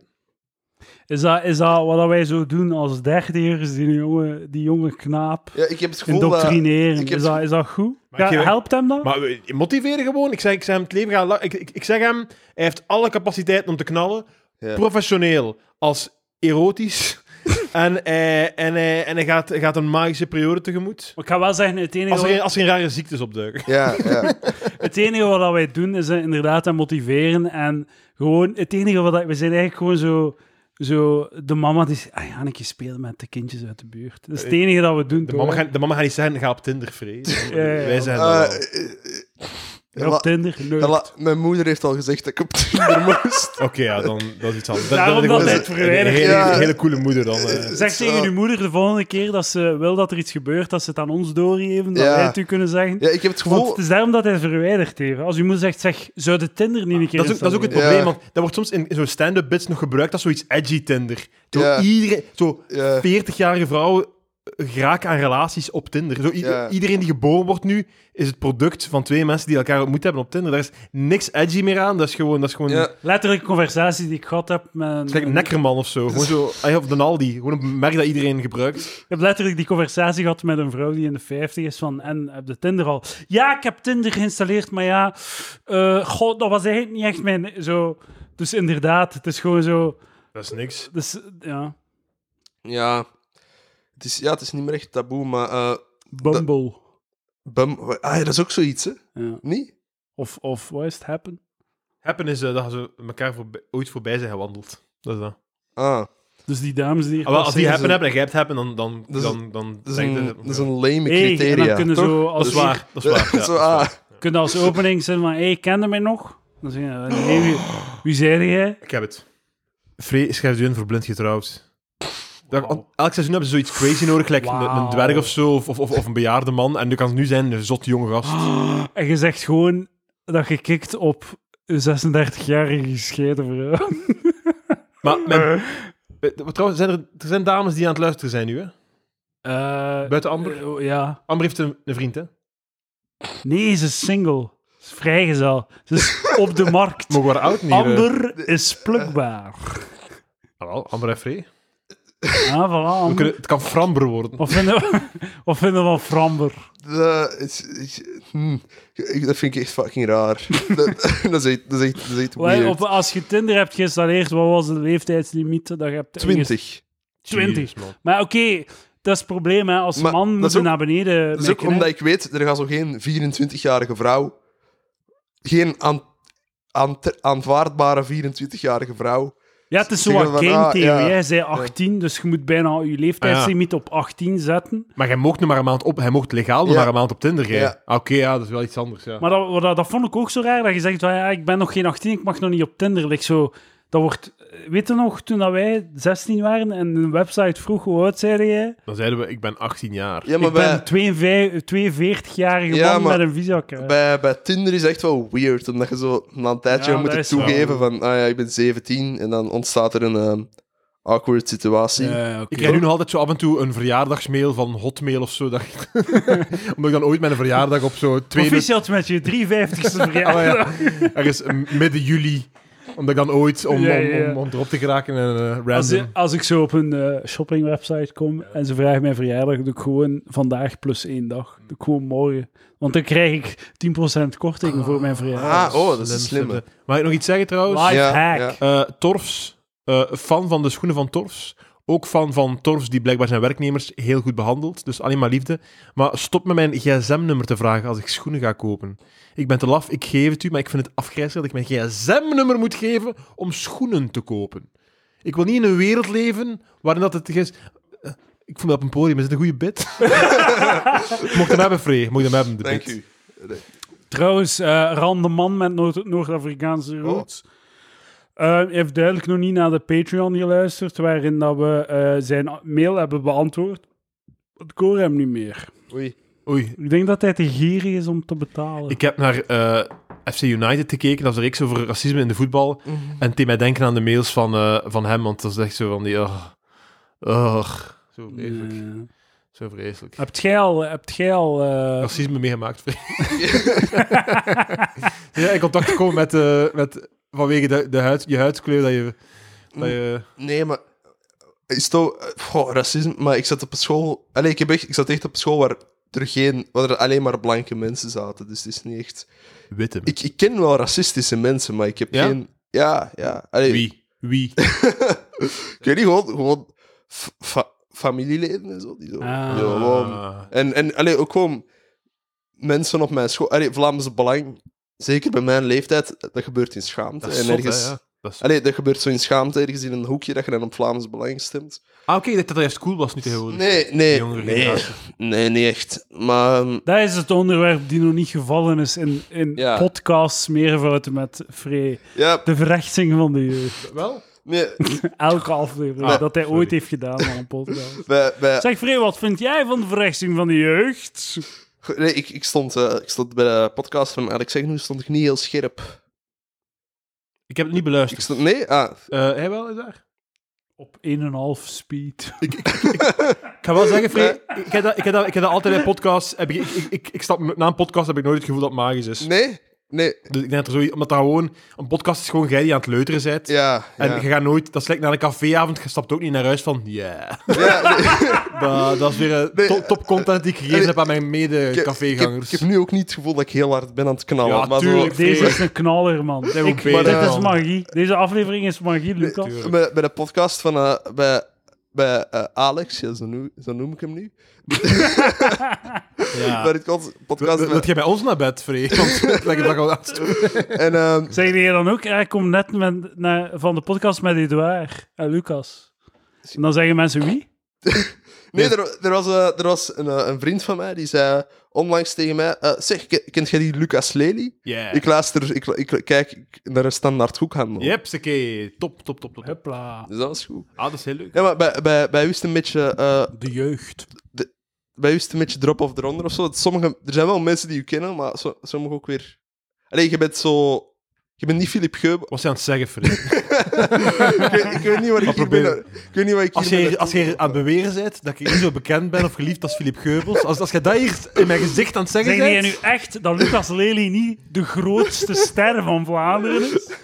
Is, dat, is dat wat dat wij zo doen als dertigers, die jonge, die jonge knaap
Ja, ik heb het gevoel dat...
indoctrineren?
ik heb
Is
het
dat, is dat goed?
Maar ik
Ja,
geef-
helpt hem dat?
Maar we- motiveren gewoon. Ik zeg, ik zeg hem, het leven gaat la- ik, ik, ik zeg hem, hij heeft alle capaciteiten om te knallen.
Ja.
Professioneel als
(laughs)
erotisch. en, hij- en, hij- en hij gaat, gaat een magische periode tegemoet.
Maar ik ga wel zeggen, het enige,
Als er,
wat,
geen- als er geen rare ziektes opduiken.
Ja,
(laughs)
ja.
het enige wat dat wij doen, is eh, inderdaad hem motiveren. En gewoon, het enige wat dat, we zijn eigenlijk gewoon zo, zo de mama die zegt, ah ja, een keer spelen met de kindjes uit de buurt. Dat is het enige dat we doen.
Eh, De mama,
toch?
gaat, de mama gaat niet zeggen, ga op Tinder, vrees.
Ja, ja, ja.
Wij zijn dat
Eh,
wel.
eh, eh,
En op
la-
Tinder, leuk.
la- Mijn moeder heeft al gezegd dat ik op Tinder
(laughs)
moest.
Oké, ja, dan dat is iets anders.
Daarom dat
is gewoon
hij
een-
het verwijderd
Een hele,
heeft.
een hele coole moeder dan. eh.
Zeg
Zo.
tegen uw moeder de volgende keer dat ze wil dat er iets gebeurt, dat ze het aan ons doorgeven, dat
Ja.
wij het u kunnen zeggen.
Ja, ik heb het
Want
Oh.
gevoel...
het is daarom dat hij het verwijderd heeft. Als uw moeder zegt, zeg, zou de Tinder niet een keer
Ah, Dat is, ook, dat is ook het
Ja.
probleem, want dat wordt soms in, in zo'n stand-up bits nog gebruikt als zoiets edgy Tinder. Terwijl
Ja.
iedereen, zo
Ja.
40-jarige vrouwen geraken eh, aan relaties op Tinder. Zo, i-
Ja.
Iedereen die geboren wordt nu is het product van twee mensen die elkaar ontmoet hebben op Tinder. Daar is niks edgy meer aan. Dat is gewoon, dat is gewoon
Ja,
Letterlijk conversatie die ik gehad heb met...
het is gelijk Neckerman of zo. Gewoon zo, ah ja, of Donaldi. Gewoon een merk dat iedereen gebruikt.
Ik heb letterlijk die conversatie gehad met een vrouw die in de 50 is van en heb de Tinder al. Ja, ik heb Tinder geïnstalleerd, maar ja, eh god, dat was eigenlijk niet echt mijn zo. Dus inderdaad, het is gewoon zo.
Dat is niks.
Dus ja,
ja. Het is, ja, het is niet meer echt taboe, maar... eh
Bumble.
bum, ah, ja, dat is ook zoiets, hè?
Ja.
Niet?
Of of wat is het happen?
Happen is eh, dat ze elkaar voorbij- ooit voorbij zijn gewandeld. Dat is dat.
Ah,
Dus die dames die hier
Ah, wel, als die
passeren,
happen hebben en jij hebt happen, dan... dan,
Dat is-
dan, dan
dat is
denk
een,
je-
dat is een lame
zo, hey, en
criteria,
dan kunnen
toch? (laughs)
zo als
Dat is waar, dat is waar. ja,
Zo,
dat is waar.
ah,
kunnen als opening zijn van hey, kende mij nog? Dan zeggen ze, nee, wie, wie zei jij?
Ik heb het. Free schrijft u in voor blind getrouwd. Daar-
Wauw.
Elk seizoen hebben ze zoiets crazy nodig, like een- een,
Wauw.
dwerg of zo, of, of, of, of een bejaarde man. En nu kan het nu zijn een zot jonge gast.
En je zegt gewoon dat je kikt op een 36-jarige gescheiden vrouw.
Maar mijn- eh, trouwens, zijn er, er zijn dames die aan het luisteren zijn nu, hè?
Eh,
Buiten Amber?
eh, oh, ja.
Amber heeft een, een vriend, hè?
Nee, ze is single. Ze is vrijgezel. Ze is op de markt.
Mogen we haar oud niet? eh?
Amber is plukbaar.
(laughs) Ah, wel, Amber en Free.
Ja, voilà.
We
Amber.
kunnen, het kan Framber worden.
Wat vinden we, wat vinden we van Framber?
dat, is, ik- hm, ik- dat vind ik echt fucking raar. (laughs) dat, dat is echt, dat is echt, dat is echt
Wij,
weird.
op, als je Tinder hebt geïnstalleerd, wat was de leeftijdslimiet? Dat je hebt
20.
Twintig.
Jezus, man.
Maar oké, dat is het probleem. Hè. Als
Maar
man
dat
moet
is
je
ook-
naar beneden
Dat is Dus ook
mikken, hè.
omdat ik weet, er gaat zo geen 24-jarige vrouw, geen aan, aan, aanvaardbare 24-jarige vrouw.
Ja, het is zo
zeggen
wat
van,
game
ah,
theory.
ja.
hè. Jij zei 18, dus je moet bijna je leeftijdslimiet op 18 zetten.
Maar hij mocht nu maar een maand op... Hij mocht legaal nog
Ja.
maar een maand op Tinder, hè?
Ja.
Ah, Oké, ja, dat is wel iets anders, ja.
Maar dat, wat dat, dat vond ik ook zo raar, dat je zegt, van, ja, ik ben nog geen 18, ik mag nog niet op Tinder. Like zo, dat wordt, weet je nog, toen dat wij 16 waren en een website vroeg, hoe oud zeiden jij?
Dan zeiden we, ik ben 18 jaar.
Ja, maar
Ik ben
bij,
een 42-jarige
Ja,
man
maar-
met een visa-kaart.
bij, bij Tinder is echt wel weird, omdat je zo na een tijdje
Ja,
moet
dat
het
is wel-
toegeven van, ah ja, ik ben 17, en dan ontstaat er een ehm, awkward situatie.
Ik krijg nu nog altijd zo af en toe een verjaardagsmail van Hotmail of zo. Dat ik- (laughs) Omdat ik dan ooit mijn verjaardag op zo tweede...
Proficiat met je
(laughs)
53ste
Ah, maar
verjaardag.
ja, ergens midden juli. Omdat ik dan ooit, om,
Ja,
om,
ja.
om, om erop te geraken, en eh,
Als,
random...
je- als ik zo op een eh, shoppingwebsite kom en ze vragen mijn verjaardag, doe ik gewoon vandaag plus één dag.
Mm.
Doe ik gewoon morgen. Want dan krijg ik 10% korting voor mijn verjaardag.
Ah, oh, dat is een slimme.
Mag ik nog iets zeggen trouwens?
Life
ja,
hack.
ja.
Eh, Torfs, eh, fan van de schoenen van Torfs. Ook fan van Torfs, die blijkbaar zijn werknemers heel goed behandelt. Dus alleen maar liefde. Maar stop met mijn gsm-nummer te vragen als ik schoenen ga kopen. Ik ben te laf, ik geef het u, maar ik vind het afgrijzelijk dat ik mijn gsm-nummer moet geven om schoenen te kopen. Ik wil niet in een wereld leven waarin dat het is... eh, Ik voel me op een podium, is het een goede bit? (laughs) mocht hem hebben, Free. Mocht hem hebben, de
Dank
bit.
u. Nee.
Trouwens, eh Ran de Man met Noord- Noord-Afrikaanse
Oh.
roots. eh, heeft duidelijk nog niet naar de Patreon geluisterd, waarin dat we eh, zijn mail hebben beantwoord. Het koor hem niet meer.
Oei.
Oei.
Ik denk dat hij te gierig is om te betalen.
Ik heb naar eh, FC United gekeken, dat was een reeks over racisme in de voetbal.
Mhm.
En het deed mij denken aan de mails van, eh, van hem, want dat is echt zo van die... Oh, zo vreselijk.
Nee.
Zo vreselijk.
Hebt jij al... Hebt jij al eh,
Racisme meegemaakt, Free. (laughs) ja, in contact gekomen met, eh, met vanwege de, de huid, je huidskleur dat je... Dat je
Nee, maar... Is toch... eh, Goh, racisme. Maar ik zat op een school... Allee, ik, heb echt, ik zat echt op een school waar er, geen, waar er alleen maar blanke mensen zaten. Dus het is niet echt...
Mm. Witte.
Ik, ik ken wel racistische mensen, maar ik heb
Ja?
geen... Ja, ja. Allee,
Wie? Wie?
Ik weet niet, gewoon, gewoon f- fa- familieleden en zo. Die zo,
Ah.
die gewoon-
Ah.
en en allee, ook gewoon mensen op mijn school. Allee, Vlaamse belang, zeker bij mijn leeftijd, dat gebeurt in schaamte.
Dat is
en
zot, hè,
ergens,
ja. Dat is-
allee, dat gebeurt zo in schaamte, ergens in een hoekje dat je dan op Vlaams belang stemt.
Ah, oké, dat dat juist cool was nu tegenwoordig.
Nee,
De
nee,
jongere
nee,
generatie.
nee, niet echt. Maar ehm,
Dat is het onderwerp die nog niet gevallen is in, in
Ja.
podcasts meervouden met Free.
ja,
De verrechtsing van de jeugd.
Wel?
nee,
Elke aflevering
Ah,
dat hij
sorry.
ooit heeft gedaan aan een podcast.
bij, bij,
Zeg Free, wat vind jij van de verrechtsing van de jeugd?
nee ik, ik, stond, eh, ik stond bij de podcast van Alex Zegnoe, stond ik niet heel scherp.
Ik heb het niet
Ik
beluisterd.
stond, nee, ah,
Eh hij wel, is daar?
Op 1,5 speed.
Ik ga wel zeggen, Free, ik, heb dat, ik, heb dat, ik heb dat altijd bij podcasts. Heb ik, ik, ik, ik, ik stap, na een podcast heb ik nooit het gevoel dat het magisch is.
nee, nee,
Dus ik denk dat er zoiets, omdat dat gewoon, een podcast is gewoon jij die aan het leuteren bent.
ja.
En
ja.
je gaat nooit, dat is lekker naar een caféavond, je stapt ook niet naar huis van, (laughs) ja.
Ja, nee.
Dat, dat is weer eh,
Nee,
top, top content die ik gegeven
nee,
heb aan mijn
Ik-
mede-cafégangers.
Ik, heb- ik heb nu ook niet het gevoel dat ik heel hard ben aan het knallen.
Ja,
maar zo-
tuurlijk.
Deze
Free.
is een knaller, man.
Zijn we
Ik-
beter
dit is
dan.
magie. Deze aflevering is magie, Lucas.
tuurlijk.
bij, bij de podcast van eh, bij, bij eh, Alex, ja, zo, noem, zo noem ik hem nu.
Ja.
Bij de kans- podcast.
Wil- wil- wil
met-
jij bij ons naar bed, Free? (laughs) Want lekker dat al aan het doen.
en, ehm,
Zeg je dan ook, ja, ik kom net met, naar, van de podcast met Edouard en Lucas. En dan zeggen mensen wie?
nee, er, er was, eh, er was een, eh, een vriend van mij die zei onlangs tegen mij: eh, Zeg, ke- kent jij die Lucas Lely?
Ja.
Ik luister, ik, ik kijk naar een standaard hoekhandel.
Jeps, oké. Top, top, top, top. top.
Hupla.
Dus dat was goed.
Ah, dat is heel leuk.
Ja, maar bij, bij, bij u is het een beetje. eh,
De jeugd.
bij u is het een beetje drop of eronder of zo. Dat Sommige, er zijn wel mensen die u kennen, maar so- sommige ook weer. Allee, je bent zo. Je bent niet Philip Geub.
Wat was je aan het zeggen, Free?
ik, weet- ik weet niet waar ik
Maar
hier
probeer.
ben. Ik weet niet waar ik
Als
hier
jij,
ben-
als jij aan het beweren bent dat ik niet zo bekend ben of geliefd als Filip Geubels, als, als jij dat hier in mijn gezicht aan het zeggen
Zeg je
bent...
nu echt dat Lucas Lely niet de grootste ster van Vlaanderen is?
Oh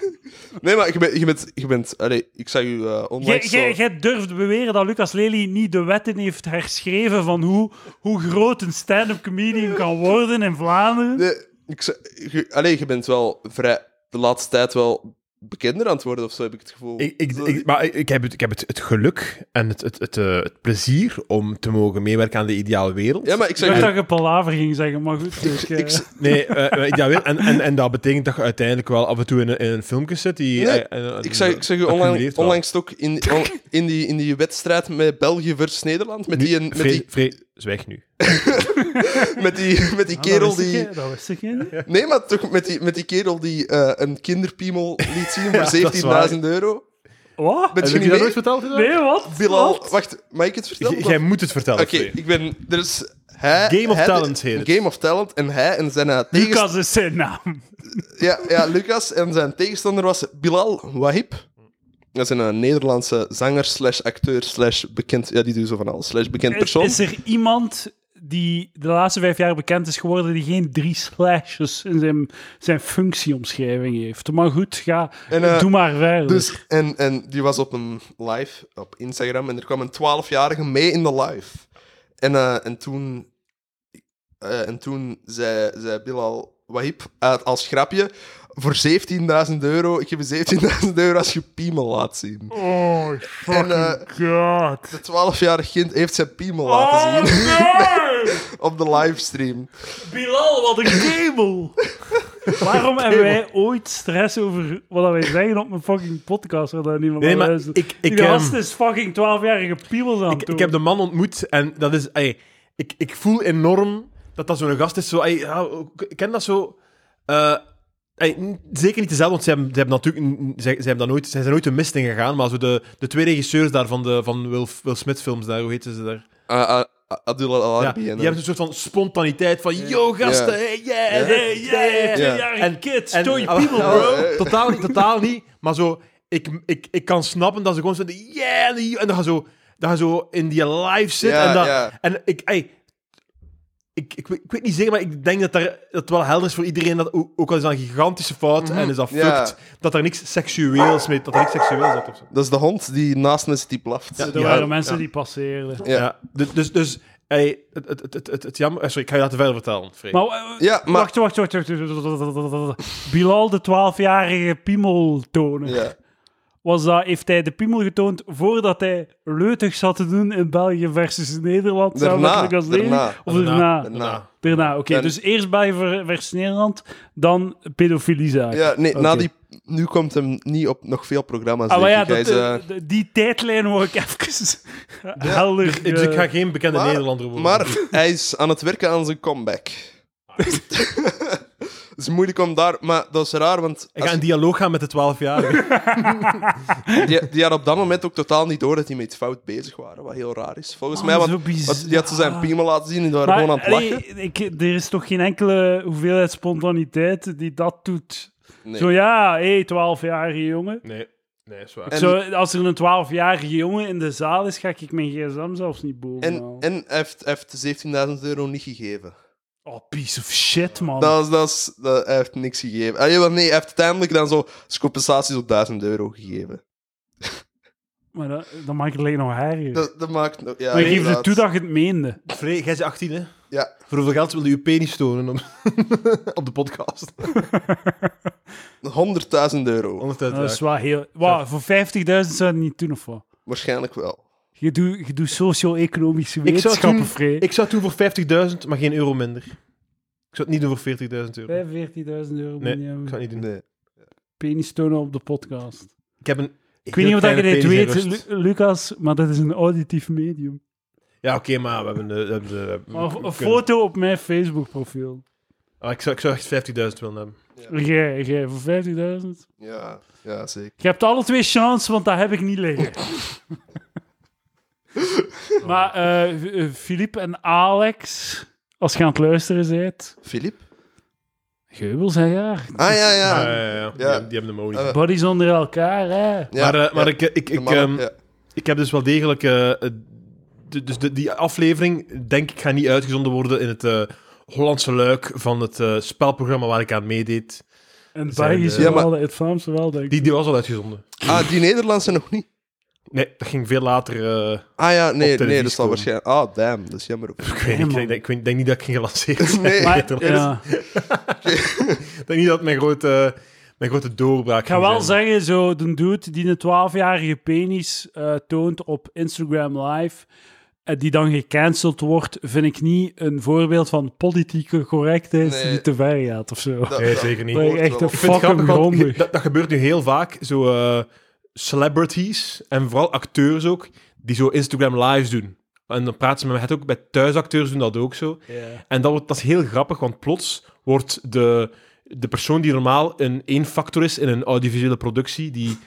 Nee, maar je bent. Je bent, je bent allee, ik zag u eh,
Jij-
online. zo-
Jij jij durft beweren dat Lucas Lely niet de wetten heeft herschreven van hoe, hoe groot een stand-up comedian kan worden in Vlaanderen.
Nee, ik zag- je, allee, je bent wel vrij. De laatste tijd wel bekender aan het worden of zo heb ik het gevoel.
Ik, ik,
Zo-
ik, maar ik- ik heb, het, ik heb het, het geluk en het, het, het, eh, het plezier om te mogen meewerken aan de ideale wereld.
ja, maar ik
Ik dacht
zag.
dat je palaver ging zeggen, maar goed. Ik, eh,
(laughs) Ik, z-
Nee, eh, eh, ideale wereld. En, en, en dat betekent dat je uiteindelijk wel af en toe in, een- in een filmpje zit. Die,
Nee,
eh, eh,
ik zag, ik zag u
dat
online,
cumuleert wel.
onlangs ook in, on- in, die, in die wedstrijd met België versus Nederland. Met
Nu,
die, met
Free-
die,
Free, zwijg nu.
met die, met die
ah, dat
kerel
wist ik,
die.
hè, Dat wist ik, hè.
Nee, maar toch met die, met die kerel die eh, een kinderpiemel liet
(laughs)
zien
dat is
voor 17.000 euro.
Wat?
Ben
Heb ik
je niet
je dat
mee?
nooit verteld? Inderdaad?
Nee, wat?
Bilal,
Wat?
wacht, mag ik het vertellen?
J- Jij moet het vertellen,
Oké,
Free.
ik ben. Er is hij,
Game of
hij-
Talent heet het.
Game of Talent en hij en zijn eh, tegenstander.
Lucas is zijn naam.
Ja, ja, Lucas en zijn tegenstander was Bilal Wahib. Dat is een eh, Nederlandse zanger, slash acteur, slash bekend. Ja, die doet zo van alles. Slash bekend
Is,
persoon.
is er iemand die de laatste vijf jaar bekend is geworden die geen drie slashes in zijn, zijn functieomschrijving heeft? Maar goed, ga,
En, eh,
doe maar verder.
Dus, en, en die was op een live op Instagram en er kwam een 12-jarige mee in de live. En, eh, en toen, eh, en toen zei, zei Bilal Wahib uit als grapje: Voor 17.000 euro, ik geef je 17.000 euro als je piemel laat zien.
Oh, fucking
eh,
En,
god.
De 12-jarige kind heeft zijn piemel
Oh,
laten zien (laughs)
nee!
(laughs)
op de livestream.
Bilal, wat een kabel. Waarom hebben wij ooit stress over wat wij zeggen op mijn fucking podcast? Waar daar niemand
Nee,
naar
maar
luistert?
ik- ik,
Die
ehm,
gast is fucking 12-jarige piebels aan het
Ik,
doen.
ik heb de man ontmoet en dat is... ey, ik, ik voel enorm dat dat zo'n gast is. Zo, ey, ja, ik ken dat zo... eh, ey, n- zeker niet dezelfde, want ze hebben, ze hebben natuurlijk... n- Ze, ze hebben dat nooit, ze zijn nooit de mist ingegaan, maar zo de, de twee regisseurs daar van, de, van Will, Will Smith-films, daar, hoe heten ze daar?
Uh, Adil
Ja,
Al-Arabi.
die
en,
hebben een soort van spontaniteit van... Yo, gasten,
Ja.
hey, yeah,
Ja.
hey, yeah.
Ja, ja,
Ja.
En-
kids,
En-
toy
Ah,
people,
ah,
bro.
ah, ah, Totaal niet, totaal niet. Maar zo, ik, ik, ik kan snappen dat ze gewoon zo... Yeah! die- En dan gaan zo, dan gaan zo in die live zitten.
Ja,
en, dat,
ja.
en ik... ey, ik, ik, weet- ik weet niet zeker, maar ik denk dat daar, dat het wel helder is voor iedereen. Dat, ook ook al is dat een gigantische fout en is dat
Mhm. Ja.
fucked. Dat er niks seksueels mee... Dat er niks seksueels uit of zo.
Dat is de hond die naast me zit die blaft.
Er
Ja,
waren mensen
ja.
die passeerden.
Ja.
Ja, dus... dus, dus ey, het, het, het, het, het, het jammer... eh, Sorry, ik ga je laten verder vertellen, Freek.
Maar, eh,
Ja, maar-
Wacht, wacht, wacht, wacht, wacht, wacht, wacht, wacht. Bilal, de 12-jarige piemeltoner.
Ja.
Was dat, heeft hij de piemel getoond voordat hij leutig zat te doen in België versus Nederland? Zou
Daarna,
makkelijk als leven?
daarna.
Of daarna? Daarna,
Daarna.
oké.
En-
Dus eerst België ver- versus Nederland, dan pedofiliezaak.
Ja, nee,
Oké.
na die, nu komt hem niet op nog veel programma's.
Ah, maar
denk
ja,
ik. Hij
dat,
is, eh,
eh, d- die tijdlijn wou ik (laughs) even helder...
Ik- dus ik ga
eh,
geen bekende
maar-
Nederlander worden.
Maar hij is aan het werken aan zijn comeback. (laughs) Het is moeilijk om daar... Maar dat is raar, want
ik
als-
ga in dialoog gaan met de 12-jarige.
die, die had op dat moment ook totaal niet door dat hij met fout bezig waren. Wat heel raar is. Volgens mij,
man,
want,
zo
want die had ze zijn
bizar.
piemel laten zien en die waren
Maar,
gewoon aan het lachen.
allee, ik, er is toch geen enkele hoeveelheid spontaniteit die dat doet.
Nee.
Zo ja, hé, 12-jarige jongen.
Nee, nee, is waar.
En-
Zo, als er een 12-jarige jongen in de zaal is, ga ik mijn gsm zelfs niet boven.
En, en hij heeft, hij heeft 17.000 euro niet gegeven.
Oh, piece of shit, man.
Dat is, dat is, dat, hij heeft niks gegeven. Ah, jawel, nee, hij heeft uiteindelijk dan zo als compensatie zo'n 1000 euro gegeven.
Maar dat, dat maakt het alleen nog haariger.
Dat, dat maakt... nog- Ja,
maar je geeft
inderdaad.
het toe dat je het meende.
Free, jij is 18, hè?
Ja.
Voor hoeveel geld wilde je penis tonen op, (laughs) op de podcast?
100.000 euro.
Anders uit,
Ah, Dat is
ja.
wel heel... Wauw, voor 50.000 zou je het niet doen, of wat?
Waarschijnlijk wel.
Je doet je doet socio-economische
Ik zou
wetenschappen,
toen-
vrij.
Ik zou het doen voor 50.000, maar geen euro minder. Ik zou het niet doen voor 40.000 euro. Nee,
45.000 euro
ik
minimum.
zou het niet doen.
Nee.
penis tonen op de podcast.
Ik heb een
Ik weet niet of dat je dit weet, Lu- Lucas, maar dat is een auditief medium.
Ja, oké, maar we hebben... eh, we hebben, eh, we hebben-
Maar een
we
een
kunnen-
foto op mijn Facebook-profiel.
Ah, ik, zou, ik zou echt 50.000 willen hebben.
Jij, jij, voor 50.000.
Ja, ja zeker.
Je hebt alle twee chance, want dat heb ik niet liggen. maar eh, eh, Filip en Alex, als je aan het luisteren bent...
Filip?
Geubels en jaar.
Ah, ja,
Ah,
ja.
ja, ja, ja. Die,
Ja.
hebben- die hebben de mooi.
Eh,
Buddies onder elkaar, hè.
ja,
maar eh, maar
ja.
ik, ik, ik,
Normaal,
ehm,
ja.
ik heb dus wel degelijk. eh, eh, d- dus de, die aflevering, denk ik, gaat niet uitgezonden worden in het eh, Hollandse luik van het eh, spelprogramma waar ik aan meedeed.
En het
Zijn de-
Belgische
Ja, maar-
wel, het Vlaamse wel, denk ik.
Die, die was al uitgezonden.
Ah, die Nederlandse nog niet.
Nee, dat ging veel later. eh, (laughs)
Ah ja, nee,
televisie
nee dat zal
komen.
waarschijnlijk... Ah, damn, dat is jammer ook.
ik, weet, niet, ik,
man.
denk, ik weet- ik denk niet dat ik ging
(laughs)
gelanceerd zijn.
Nee,
Maar,
(laughs) Nederlands.
ja.
Ik denk niet dat het mijn grote, mijn grote doorbraak
Ik ga
ging
wel
zijn.
zeggen, zo, de dude die een 12-jarige penis eh, toont op Instagram Live, en die dan gecanceld wordt, vind ik niet een voorbeeld van politieke correctheid
Nee.
die te ver gaat of zo.
Dat-
Nee,
dat
zeker niet.
Dat
hoort
is echt
wel
een
op.
Ik vind het
fucking
grappig, want
grondig.
dat, dat gebeurt nu heel vaak. Zo eh, celebrities en vooral acteurs ook, die zo Instagram lives doen. En dan praten ze met het ook bij thuisacteurs doen dat ook zo. En dat, wordt- dat is heel grappig, want plots wordt de, de persoon die normaal een één factor is in een audiovisuele productie, (laughs) die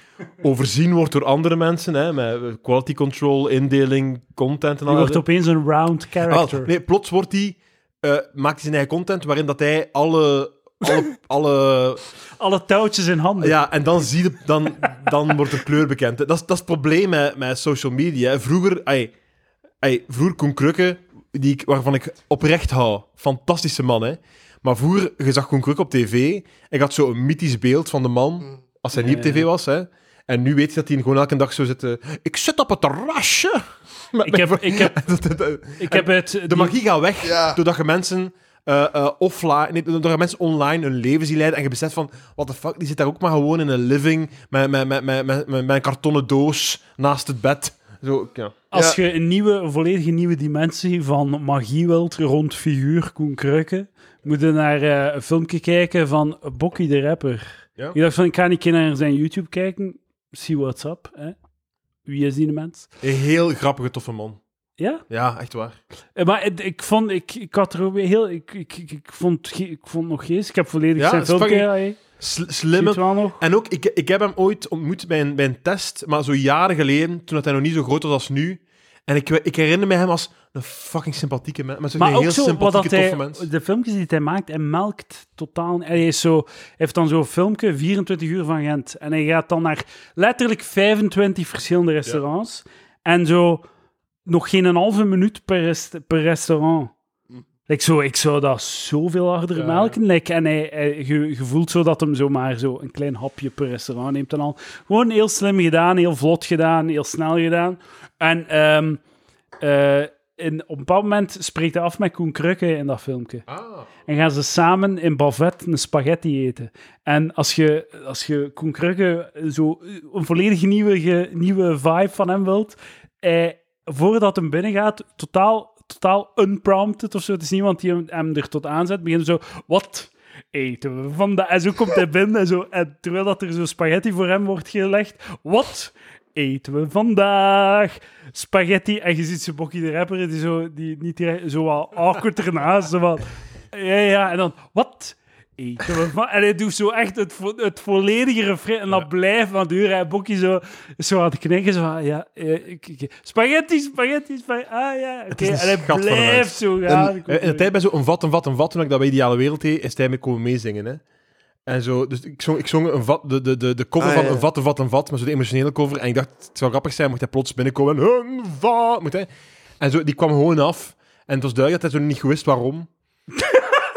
overzien wordt door andere mensen, hè, met quality control, indeling, content en
Die
al
wordt opeens een round
Ah,
character.
nee, plots wordt die, eh, maakt hij zijn eigen content waarin dat hij alle... (laughs) alle, alle
Alle touwtjes in handen.
ja, en dan, zie je, dan, dan wordt de kleur bekend. Dat is, dat is het probleem met, met social media. Vroeger, ai, ai, vroeger Koen Krukke, die ik, waarvan ik oprecht hou, fantastische man, hè. Maar vroeger, je zag Koen Krukke op tv en je had zo'n mythisch beeld van de man, als hij niet op
Ja.
tv was, hè. En nu weet je dat hij gewoon elke dag zo zit... eh, ik zit op het terrasje! (laughs) Met
Ik
mijn
heb,
vrouw."
ik heb,
Dat- dat- dat-
ik heb het...
(laughs) de magie gaat weg
Ja.
doordat je mensen eh, eh, offline, nee, doordat je mensen online hun leven zien leiden en je beseft van, what the fuck, die zit daar ook maar gewoon in een living met, met, met, met, met, met een kartonnen doos naast het bed. Zo, ja.
Als
Ja.
je een nieuwe, een volledige nieuwe dimensie van magie wilt rond figuur Koen Kruiken, moeten naar eh, een filmpje kijken van Bokkie de Rapper.
Ja.
Ik dacht van, ik ga een keer naar zijn YouTube kijken. See what's up. Hè? Wie is die mens?
Een heel grappige, toffe man.
Ja?
Ja, echt waar.
Eh, Maar het- ik vond, ik, ik had er ook weer heel, ik, ik, ik, ik vond, ge- ik vond nog geest. Ik heb volledig
Ja,
zijn
het is
filmpje.
fucking-
hè.
Sl-
Ziet
slimme.
wel nog.
En ook, ik, ik heb hem ooit ontmoet bij een, bij een test, maar zo jaren geleden, toen dat hij nog niet zo groot was als nu. En ik, ik herinner me hem als een fucking sympathieke mens. Maar, zo'n
Maar
heel
ook zo, wat
sympathieke,
dat
toffe
hij,
mens.
de filmpjes die hij maakt, hij melkt totaal. Hij is zo, hij heeft dan zo'n filmpje, 24 uur van Gent. En hij gaat dan naar letterlijk 25 verschillende restaurants. En zo nog geen een halve minuut per, rest- per restaurant.
Hm.
Like zo, ik zou dat zoveel harder melken. Like, en hij, hij, je, je voelt zo dat hem zomaar zo een klein hapje per restaurant neemt en al. Gewoon heel slim gedaan, heel vlot gedaan, heel snel gedaan. En ehm, eh, in, op een bepaald moment spreekt hij af met Koen Krukke in dat filmpje.
Ah.
En gaan ze samen in Bavet een spaghetti eten. En als je, als je Koen Krukke zo eh, een volledig nieuwe, ge- nieuwe vibe van hem wilt, eh, voordat hem binnengaat, totaal, totaal unprompted of zo. Het is niemand die hem, hem er tot aanzet. Begint zo, wat eten we vandaag? En zo komt hij binnen en, zo, en terwijl dat er zo spaghetti voor hem wordt gelegd, wat eten we vandaag? Spaghetti. En je ziet ze Bokkie de Rapper, die zo, die niet direct, zo wat awkward ernaast. Zo van, ja, ja, en dan, wat eten we van... En hij doet zo echt het, vo- het volledige refrein, en dat blijft maar duren. En Bokkie zo, zo aan het knikken, zo van, ja, eh, ik- ik- spaghetti, spaghetti, spaghetti, ah ja, oké.
een
En hij
schat van een
blijft
mens.
zo gaan. Ik
Eh, In de tijd bij zo een vat, een vat, een vat, toen ik dat bij Ideale Wereld deed, is hij mee komen meezingen, hè. En zo, dus ik zong, ik zong een vat, de, de, de, de cover
Ah,
van
ja.
een vat, een vat, een vat, maar zo de emotionele cover. En ik dacht, het zou grappig zijn, mocht hij plots binnenkomen en een vat, moet hij... En zo, die kwam gewoon af. En het was duidelijk dat hij zo niet goed wist waarom.
(laughs)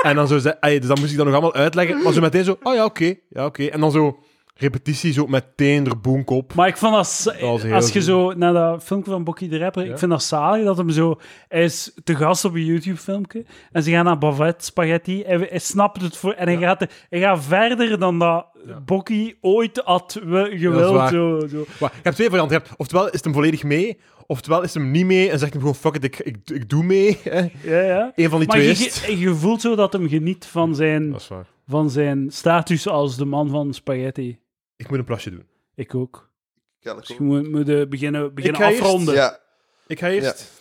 en dan zo, zei, "Ai, dus dat moest ik dan nog allemaal uitleggen. Maar zo meteen zo, oh ja, oké, ja, oké. En dan zo, repetitie, zo meteen er boenk op.
Maar ik vond dat...
Dat was heel
als je
goed.
zo naar dat filmpje van Bokkie de Rapper... Ik vind dat zalig dat hem zo... Hij is te gast op een YouTube-filmpje. En ze gaan naar Bavet Spaghetti. Hij, hij snapt het voor... En hij, gaat, de- hij gaat verder dan dat Bokkie ooit had we- gewild.
waar.
zo, zo.
Maar je hebt twee varianten. Je hebt, oftewel is het hem volledig mee, oftewel is het hem niet mee en zegt hem gewoon, fuck it, ik, ik, ik doe mee. hè.
Ja, ja.
Eén van die
Maar
twee
je,
is het.
je- je voelt zo dat hem geniet van zijn,
Dat is waar.
van zijn status als de man van Spaghetti.
Ik moet een plasje doen.
Ik ook.
Ja, dat
Dus
klopt.
je moet, moet eh, beginnen, beginnen
ga eerst-
afronden.
Ja,
Ik ga eerst.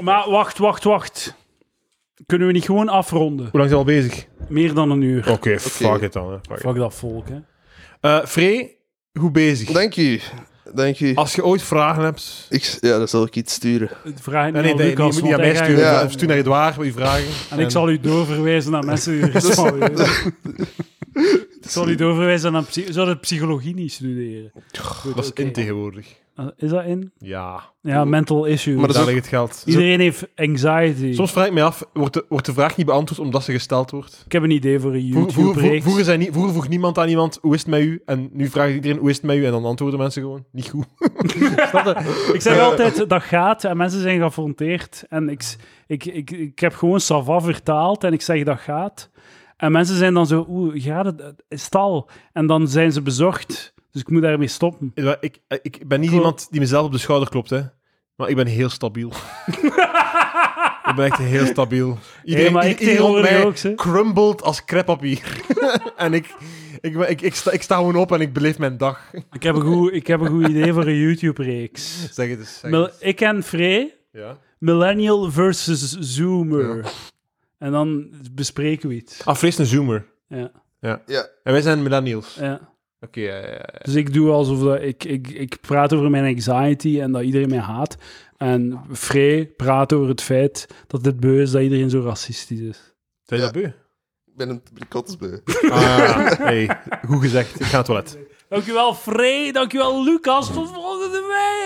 Maar wacht, wacht, wacht. Kunnen we niet gewoon afronden?
Hoe lang zijn we al bezig?
Meer dan een uur.
Oké, fuck it dan. Hè. Fuck it.
Fuck dat volk, hè.
Eh, Free, hoe bezig?
dank u. Dank u.
Als je ooit vragen hebt... eh,
Ik, ja, dan zal ik iets sturen.
Vraag het
Nee,
niet
nee,
aan
nee, je
Lucas,
moet niet aan
want
mij
hij
sturen.
gaat-
Ja.
Ja. Stuur naar Edouard met je vragen.
En ik zal u doorverwijzen naar mensen
(laughs)
die er is van je. Ik zal u doorverwijzen aan... psy- Zou het psychologie niet studeren?
Dat is in tegenwoordig.
Eh, Is dat in?
Ja,
Ja, mental issues.
Maar dat is
daar
ook-
ligt het geld.
Iedereen heeft anxiety.
Soms vraag ik mij af, wordt de, wordt de vraag niet beantwoord omdat ze gesteld wordt?
Ik heb een idee voor een
Vroeger, vroeger, vroeger,
YouTube-reeks.
zei nie- vroeger vroeg niemand aan iemand, hoe is het met u? En nu vraagt iedereen, hoe is het met u? En dan antwoorden mensen gewoon, niet goed.
Ik zeg altijd, dat gaat. En mensen zijn geaffronteerd. En ik, s- ik, ik, ik heb gewoon Sava vertaald en ik zeg, dat gaat. En mensen zijn dan zo, oeh, gaat het? Is het al? En dan zijn ze bezorgd. Dus ik moet daarmee stoppen.
Edouard, Ik, eh, ik ben niet
Cool.
iemand die mezelf op de schouder klopt, hè. Maar ik ben heel
(laughs)
stabiel. ik ben echt heel stabiel. Iedereen,
maar ik
ieder- iedereen rond
tegenwoordig
mij
ook, ze.
crumbled als creppapier. (laughs) en ik, ik, ben- ik, ik, sta, ik sta gewoon op en ik beleef mijn dag.
Ik heb een goed, ik heb een goed idee voor een YouTube-reeks.
Zeg het eens. Zeg
Mil-
het eens.
Ik en Frey,
Ja.
Millennial versus Zoomer. En dan bespreken we iets.
Ah, Fris een zoomer.
Ja,
Ja.
En wij zijn millennials.
ja.
Oké, eh, ja, ja, ja.
Dus ik doe alsof dat ik, ik, ik praat over mijn anxiety en dat iedereen mij haat. En Frey praat over het feit dat het beu is dat iedereen zo racistisch is.
Zijn
Ja.
dat beu?
Ik ben een ik ben kotsbeu.
Ah, hey, goed gezegd. Ik ga naar het toilet.
Dankjewel Frey, dankjewel Lucas, tot volgende week!